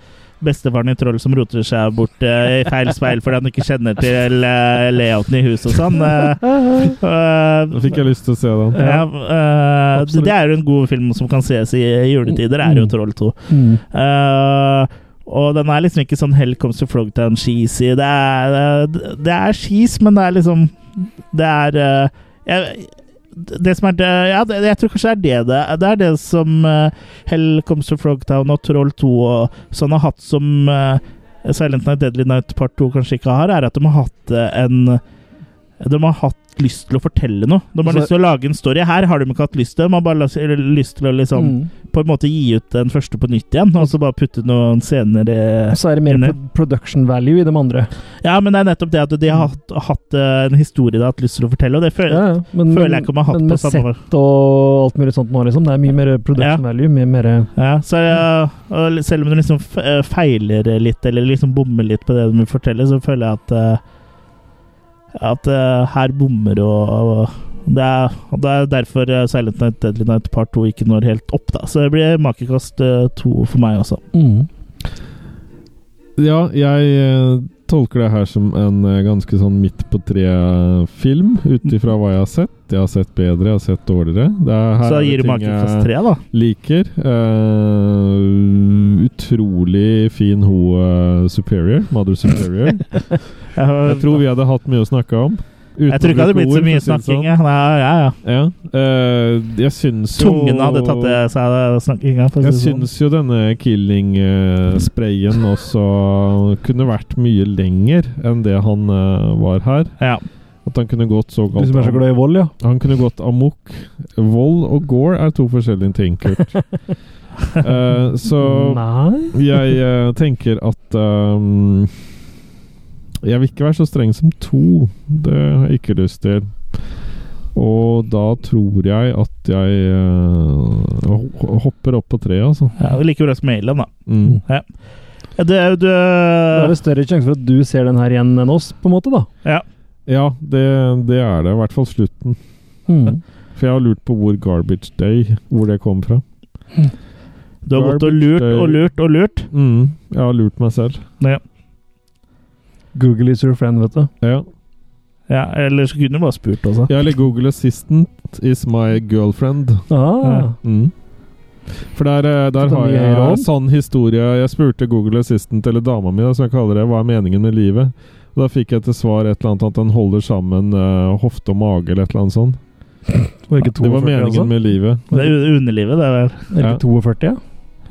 S2: bestefaren i Troll som roter seg bort eh, i feil speil fordi han ikke kjenner til eh, layouten i huset og sånn. Eh, eh,
S3: Da fikk jeg lyst til å se den.
S2: ja, eh,
S4: absolutt.
S2: det er jo en god film som kan ses i juletider, er jo
S4: Mm.
S2: Troll 2.
S4: Mm.
S2: Eh, og den er liksom ikke sånn Hell comes to Frogtown cheesy. Det er, eh, det er skis, men det er liksom Det er eh, jeg, det som er det, ja, det, jeg tror kanskje det er det det Det er det som eh, Hell comes to Frogtown og Troll 2 og sånn har hatt som eh, Silent Night Deadly Night Part 2 kanskje ikke har, er at de har hatt eh, en De har hatt lyst til å fortelle noe. De har
S4: Så-
S2: lyst til å lage en story. Her har de ikke hatt lyst til det. De har bare lyst- lyst til å liksom
S4: Mm.
S2: på en måte gi ut den første på nytt igjen, og så bare putte noen scener i-
S4: Og så er det mer
S2: Enig.
S4: pro production value i de andre.
S2: Ja, men det er nettopp det at de har hatt, hatt eh, en historie de har hatt lyst til å fortelle, og det føler,
S4: Ja, ja. Men,
S2: føler jeg ikke de har hatt på
S4: men med
S2: samme måte.
S4: sett og alt mulig sånt nå, liksom. Det er mye mer
S2: Ja.
S4: production value. Mye mer
S2: Ja, så eh, og selv om du liksom f- eh, feiler litt, eller liksom bommer litt på det de vil fortelle, så føler jeg at eh, At eh, her bommer og, og det er, og det er derfor eh, Silent Night Deadly Night Part 2 ikke når helt opp, da. Så det blir makekast eh, to for meg også.
S4: mm.
S3: Ja, jeg eh, tolker det her som en eh, ganske sånn midt på tre-film, ut ifra hva jeg har sett. Jeg har sett bedre, jeg har sett dårligere. Det er, her
S2: Så
S3: er det
S2: gir du
S3: ting eh,
S2: makekast
S3: jeg
S2: tre, da.
S3: Liker. Eh, utrolig fin ho eh, superior. Mother superior. Jeg tror vi hadde hatt mye å snakke om. uten
S2: Jeg tror ikke det hadde
S3: å
S2: blitt så
S3: bruke ord,
S2: mye
S3: for å si det
S2: snakking.
S3: sånn.
S2: jeg. Nei, ja, ja.
S3: Ja. eh, jeg syns jo
S2: Tungen hadde tatt det seg av snakkinga. for å
S3: Jeg
S2: si det sånn.
S3: syns jo denne killing-sprayen også kunne vært mye lenger enn det han eh, var her.
S2: Ja.
S3: At han kunne gått så
S4: Du
S3: galt
S4: som er så glad i vold, ja.
S3: Han kunne gått amok. Vold og gore er to forskjellige ting, Kurt. Eh, så
S4: Nei.
S3: jeg eh, tenker at ehm, Jeg vil ikke være så streng som to. Det har jeg ikke lyst til. Og da tror jeg at jeg eh, ho- hopper opp på treet, altså.
S2: Ja, det er like bra som Mailen, da.
S3: Mm.
S2: Ja, Det er jo
S4: Da er
S2: du
S4: det større sjanse for at du ser den her igjen enn oss, på en måte, da.
S3: Ja, det, det er det. I hvert fall slutten.
S4: Mm.
S3: For jeg har lurt på hvor Garbage Day Hvor det kom fra.
S2: Du har gått og
S3: Garbage
S2: lurt og
S3: Day.
S2: lurt og lurt.
S3: Mm, jeg har lurt meg selv.
S4: Google is your friend, vet du.
S3: Ja.
S2: Ja, Eller så kunne du bare spurt også.
S3: Jeg eller Google Assistant is my girlfriend.
S4: Ah.
S3: Mm. For der, eh, der
S4: Så
S3: har
S4: mye
S3: jeg
S4: høyere om.
S3: en sann historie. Jeg spurte Google Assistant, eller dama mi, da, som jeg kaller det, hva er meningen med livet? Og Da fikk jeg til svar et eller annet at den holder sammen eh, hofte og mage, eller et eller annet sånt.
S4: Var det ikke
S3: Det var
S4: 42,
S3: meningen
S4: altså?
S3: med livet.
S2: Det er u- underlivet, det er vel.
S4: Eller
S3: Ja.
S4: 42, ja.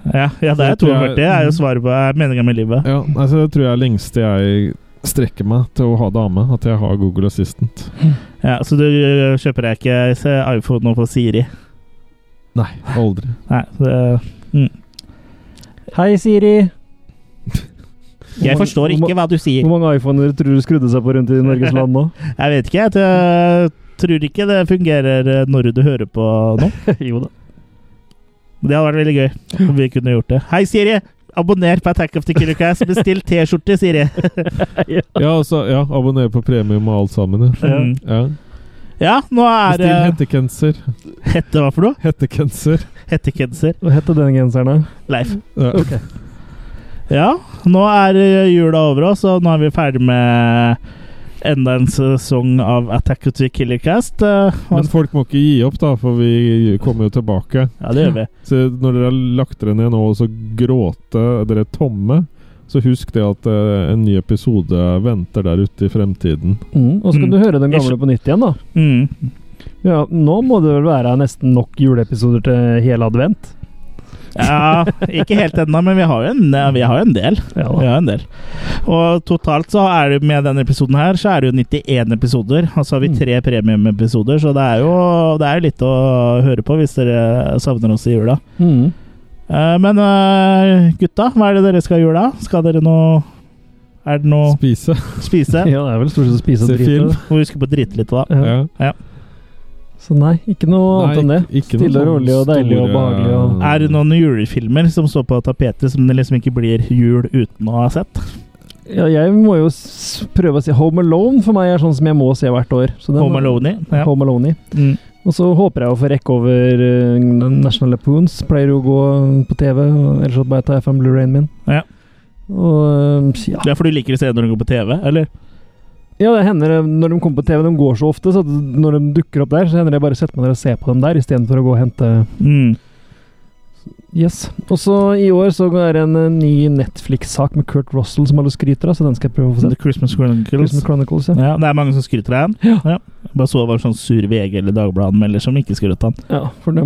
S2: Ja, ja det er
S3: Jeg tror jeg-
S2: 42. Det er jo svaret på meninga med livet.
S3: Ja, altså, Det tror jeg er lengste jeg strekker meg til å ha dame, at jeg har Google Assistant.
S2: Ja, Så du ø, kjøper deg ikke se, iPhone nå på Siri?
S3: Nei, aldri.
S2: Nei. så øh, Det,
S4: Hei, Siri.
S2: jeg forstår ikke hva du sier.
S4: Hvor mange iPhoner tror du skrudde seg på rundt i Norges land nå?
S2: Jeg vet ikke. Jeg tror- tror ikke det fungerer ø, når du hører på nå.
S4: jo da.
S2: Det hadde vært veldig gøy om vi kunne gjort det. Hei, Siri! Abonner på Attack of the Killer Cast. Bestill T-skjorte, Siri.
S3: Ja, altså, ja, abonner på premium og alt sammen. Ja.
S2: Mm.
S3: Ja.
S2: Ja, nå er det
S3: Bestill hettegenser.
S2: Hette hva for noe?
S3: Hettegenser.
S2: Hettegenser.
S4: Hva heter den genseren, da?
S2: Leif.
S3: Ja.
S2: Ja, nå er ø, jula over oss, og nå er vi ferdig med enda en sesong av Attack of the Killer Cast. Eh,
S3: Men folk må ikke gi opp, da, for vi kommer jo tilbake.
S2: Ja, det gjør vi.
S3: Så når dere har lagt dere ned nå og så gråte dere er tomme, så husk det at eh, en ny episode venter der ute i fremtiden.
S4: Mm. Og så kan
S2: Mm.
S4: du høre den
S2: Jeg
S4: gamle på nytt igjen, da.
S2: Mm.
S4: Ja, nå må det vel være nesten nok juleepisoder til hele advent.
S2: Ja, ikke helt ennå, men vi har jo en, vi har jo en del.
S4: Ja, da.
S2: Vi har en del. Og totalt så er det med denne episoden her, så er det jo 91 episoder. Og så har
S4: Mm.
S2: vi tre premiumepisoder, så det er, jo, det er jo litt å høre på hvis dere savner oss i jula.
S4: Mm.
S2: Eh, Men eh, gutta, hva er det dere skal i jula? Skal dere nå Er det noe
S3: Spise.
S2: spise?
S4: Ja, det er vel stort sett å spise og
S3: Se film.
S4: drite.
S2: Må huske på å drite litt, da.
S4: Ja.
S3: Ja.
S4: Så nei, ikke noe annet enn det.
S3: Nei, ikke noe
S4: Stille og
S3: sånn
S4: rolig og deilig og
S3: store-
S4: behagelig og-
S2: Er det noen julefilmer som står på tapetet som det liksom ikke blir jul uten å ha sett?
S4: Ja, jeg må jo s prøve å si Home Alone for meg er sånn som jeg må se hvert år. Så den-
S2: Home Alone? Ja.
S4: Home Alone i.
S2: Mm.
S4: Og så håper jeg å få rekke over eh, National Lapoons. Pleier jo å gå på TV. og Ellers så bare tar jeg fram Blu-rayen min.
S2: Ja.
S4: Og eh, ja.
S2: Det er fordi du liker å se når du går på TV, eller?
S4: ja, det hender eh, når de kommer på TV, de går så ofte, så at når de dukker opp der, så hender det jeg bare setter meg ned og ser på dem der, istedenfor å gå og hente
S2: Mm.
S4: Yes. Og så i år så er det en eh, ny Netflix-sak med Kurt Russell som alle skryter av, så den skal jeg prøve å få
S2: The
S4: sett.
S2: Christmas Chronicles.
S4: Christmas Chronicles, ja.
S2: Ja, det er mange som skryter av den.
S4: Ja.
S2: Jeg Bare så det var en sånn sur VG eller Dagbladet-melder som ikke skrøt av den.
S4: ja for de,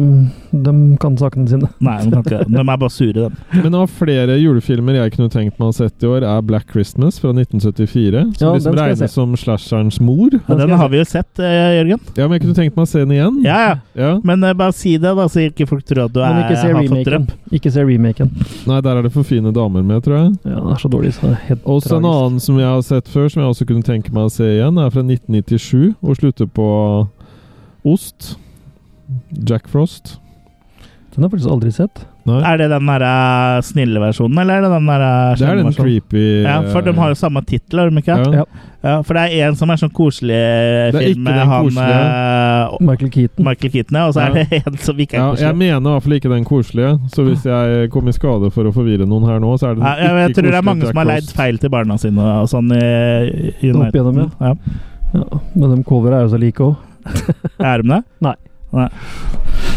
S4: de kan sakene sine.
S2: Nei, de, kan ikke, de er bare sure, de.
S3: Men av flere julefilmer jeg kunne tenkt meg å ha sett i år, er Black Christmas fra 1974. Som
S4: Ja, den
S3: liksom
S4: skal jeg se.
S3: regnes som slasherens mor.
S2: Ja, den har vi jo sett, eh, Jørgen.
S3: Ja, men jeg kunne tenkt meg å se den igjen.
S2: Ja, ja.
S3: Ja.
S2: Men eh, bare si det, da, så ikke folk tror at du er,
S4: Men ikke se
S2: har fått
S4: remaken.
S2: røpp.
S4: Ikke se remaken.
S3: Nei, der er det for fine damer med, tror jeg.
S4: Ja, den er så dårlig, så det er helt
S3: Også en
S4: tragisk.
S3: annen som jeg har sett før, som jeg også kunne tenke meg å se igjen, er fra 1997 og slutter på ost. Jack Frost.
S4: Den har jeg faktisk aldri sett.
S3: Nei.
S2: Er det den der eh, snille versjonen, eller er det den der eh,
S3: Det er
S2: slemme
S3: den
S2: versjonen?
S3: creepy
S2: Ja, for de har jo samme tittel, har de ikke?
S3: Ja.
S4: Ja.
S2: Ja, for det er en som er sånn koselig
S3: Det er ikke
S2: film med
S3: den
S2: han
S3: koselige.
S2: eh,
S4: Michael Keaton.
S2: Michael Keaton, ja, og så er det en som ikke er
S3: Ja, jeg
S2: koselig.
S3: mener i hvert fall ikke den koselige, så hvis jeg kom i skade for å forvirre noen her nå, så er det
S2: Ja,
S3: den
S2: jeg, jeg
S3: ikke
S2: tror det er
S3: koselige
S2: mange
S3: Jack
S2: som har leid
S3: Frost.
S2: feil til barna sine og sånn i, i
S4: Opp
S2: Uniten.
S4: igjennom,
S2: ja.
S4: Ja, men de covera er jo så like òg.
S2: Er de det?
S4: Nei.
S2: Nei.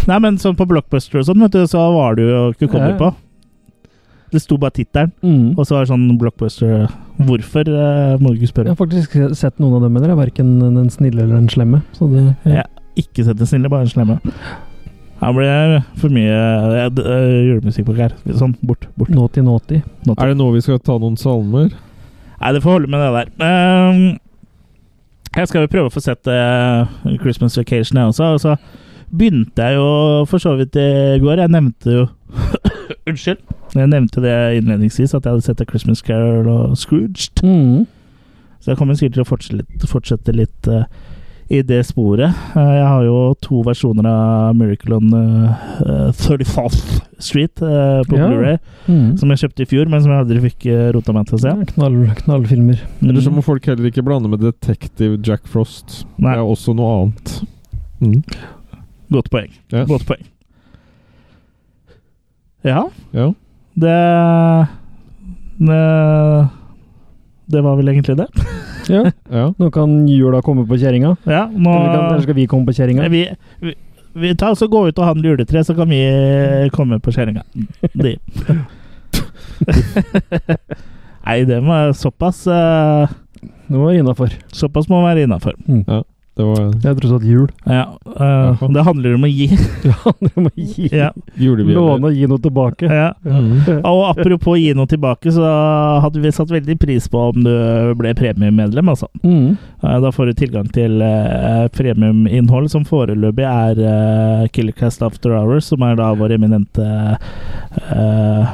S2: Nei, men sånn på Blockbuster og sånn, vet du, så var det jo ikke
S4: Ja,
S2: kommet
S4: ja.
S2: på. Det sto bare tittelen,
S4: Mm.
S2: og så var det sånn Blockbuster Hvorfor, eh, må du ikke
S4: Jeg
S2: spørre.
S4: har faktisk sett noen av dem, mener jeg. Verken den snille eller den slemme. Så det,
S2: Ja. Ikke sett den snille, bare den slemme. Her blir det for mye eh, d- eh, julemusikk på her. Sånn, bort, bort.
S4: Naughty Naughty.
S2: Nå til.
S3: Er det nå vi skal ta noen salmer?
S2: Nei, det får holde med det der. Ehm, jeg skal jo prøve å få sett eh, Christmas Vacation, jeg også. Og så begynte jeg jo for så vidt i går. Jeg nevnte jo Unnskyld. Jeg nevnte det innledningsvis, at jeg hadde sett A Christmas Carol og Scrooged.
S4: Mm.
S2: Så jeg kommer sikkert til å fortsette, fortsette litt eh, i det sporet. Eh, jeg har jo to versjoner av Miracle on uh, 34th Street eh, på
S4: Ja.
S2: Blu-ray,
S4: Mm.
S2: som jeg kjøpte i fjor, men som jeg aldri fikk eh, rota meg til å se.
S4: Knall, knallfilmer.
S3: Eller så
S2: Mm.
S3: må folk heller ikke blande med Detective Jack Frost.
S2: Nei.
S3: Det er også noe annet. Mm.
S2: Godt poeng.
S3: Ja.
S2: Godt poeng. Ja,
S3: Ja.
S2: det Det, det var vel egentlig det.
S4: Ja.
S3: ja.
S4: Nå kan jula komme på kjerringa.
S2: Ja, nå
S4: Eller, kan- eller skal vi komme på kjerringa?
S2: vi, vi, vi tar oss og Gå ut og handle juletre, så kan vi komme på kjerringa. De. Nei, det må såpass eh,
S4: Nå er vi innafor.
S2: Såpass må være innafor.
S3: Det var
S4: Jeg trodde at jul
S2: Ja, eh,
S3: Jaha.
S2: det handler om å gi.
S4: Det handler om å gi.
S2: Ja,
S3: julebjeller.
S4: Låne og gi noe tilbake.
S2: ja.
S3: Mm.
S2: Og apropos gi noe tilbake, så hadde vi satt veldig pris på om du ble premiemedlem, altså.
S4: Mm.
S2: Eh, Da får du tilgang til eh, premiuminnhold som foreløpig er eh, Killercast After Hours, som er da vår eminente eh,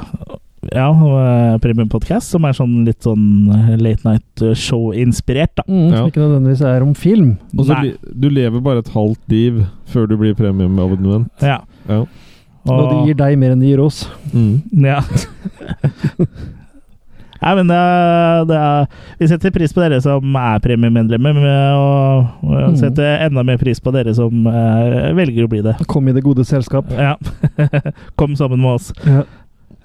S2: ja, eh, premiumpodcast, som er sånn litt sånn late night show-inspirert, da.
S4: Mm. Som
S3: Ja.
S4: ikke nødvendigvis er om film.
S3: Og så
S2: Nei.
S3: li- du lever bare et halvt liv før du blir premiumabonnement.
S2: Ja.
S3: Ja.
S4: Og det gir deg mer enn det gir oss.
S3: Mm.
S2: Ja. Nei, men det, er- det er, Vi setter pris på dere som er premiemedlemmer, men- og, og
S4: Mm.
S2: setter enda mer pris på dere som eh, velger å bli det.
S4: Kom i det gode selskap.
S2: Ja. Kom sammen med oss.
S4: Ja.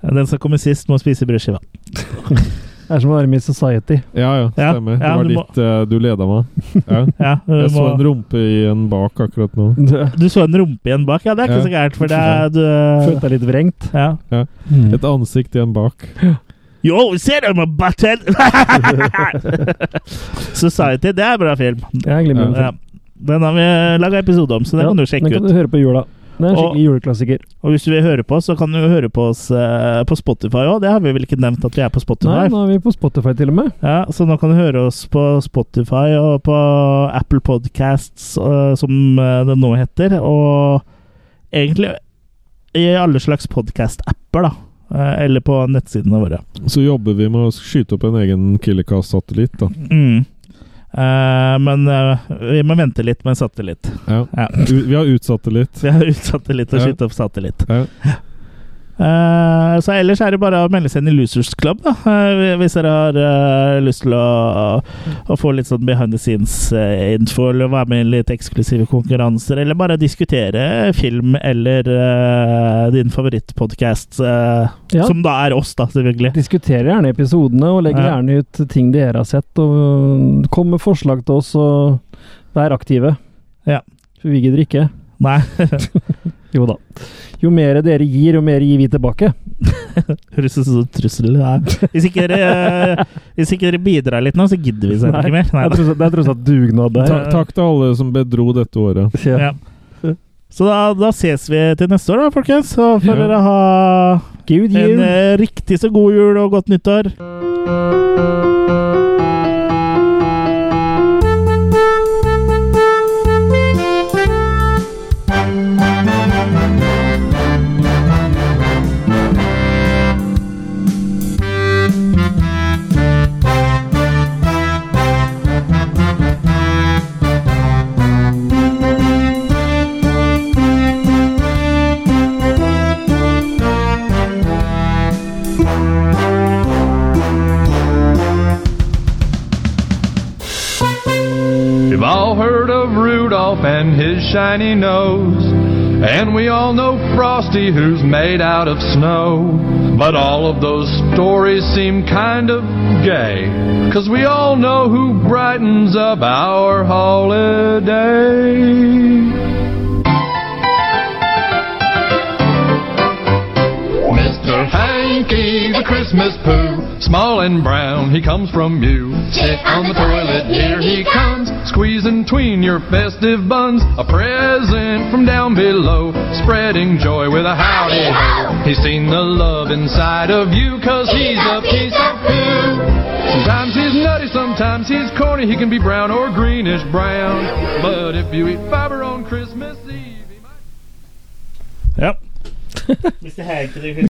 S2: Den som kommer sist, må spise brødskiva.
S4: Det er som å være med i Society.
S3: ja, ja,
S2: Ja,
S3: stemmer.
S2: ja,
S3: det var
S2: du må-
S3: ditt eh, du leda meg. Ja.
S2: Ja, du,
S3: Jeg så
S2: må,
S3: en rumpe i en bak akkurat nå.
S4: Du
S2: du så en rumpe igjen bak? Ja, det er ikke
S3: Ja.
S2: så gærent, for det er du eh,
S4: følte deg litt vrengt.
S2: ja.
S3: Et ansikt i en bak.
S2: Yo, ser du my butthead? Society, det er en bra film.
S4: Jeg er glimrende.
S2: Ja. Den har vi laga episode om, så den
S4: Ja,
S2: kan du sjekke
S4: den kan
S2: ut.
S4: du høre på jula. Det er en
S2: Og-
S4: skikkelig juleklassiker.
S2: Og hvis du vil høre på oss, så kan du høre på oss eh, på Spotify òg. Det har vi vel ikke nevnt at vi er på
S4: Nei,
S2: Spotify.
S4: nå er vi på Spotify til og med.
S2: Ja, så nå kan du høre oss på Spotify og på Apple Podcasts, eh, som eh, det nå heter. Og egentlig i alle slags podcast-apper, da. eh, eller på nettsidene våre.
S3: Så jobber vi med å skyte opp en egen Killercast-satellitt, da.
S2: Mm. Eh, men eh, vi må vente litt med satellitt.
S3: Ja.
S2: Ja.
S3: U- Vi har utsatt det litt.
S2: Vi har utsatt det litt og
S3: Ja.
S2: skytt opp satellitt.
S3: Ja.
S2: Eh, så ellers er det bare å melde seg inn i Losers Club, da. eh, hvis dere har eh, lyst til å, å få litt sånn behind the scenes-info, eller være med i litt eksklusive konkurranser, eller bare diskutere film eller eh, din favorittpodkast,
S4: Ja.
S2: som da er oss, da, selvfølgelig.
S4: Diskuter gjerne episodene, og legg
S2: Ja.
S4: gjerne ut ting dere har sett. Og kom med forslag til oss, og vær aktive.
S2: Ja.
S4: For vi gidder ikke.
S2: Nei,
S4: Jo da. Jo mer dere gir, jo mer gir vi tilbake.
S2: høres ut som en trussel. Nei. Hvis, ikke dere, eh, hvis ikke dere bidrar litt nå, så gidder vi seg ikke mer. Nei,
S4: det er
S2: da.
S4: tross alt- det er tross alt dugnad der.
S3: Ta takk til alle som bedro dette året.
S4: Ja.
S2: Ja. Så da, da ses vi til neste år, da, folkens. Så får
S3: Ja.
S2: dere ha
S4: Good
S2: En
S4: year.
S2: eh, riktig så god jul og godt nyttår.
S7: You've all heard of Rudolph and his shiny nose. And we all know Frosty, who's made out of snow. But all of those stories seem kind of gay. Cause we all know who brightens up our holiday. Mr. Hanky, the Christmas poo, small and brown, he comes from you. Sit on the toilet, here he comes, squeezing tween your festive buns. A present from down below, spreading joy with a howdy ho. He's seen the love inside of you, cause he's a piece of poo. Sometimes he's nutty, sometimes he's corny, he can be brown or greenish brown. But if you eat fiber on Christmas Eve, he might.
S2: Ja. Hvis det her ikke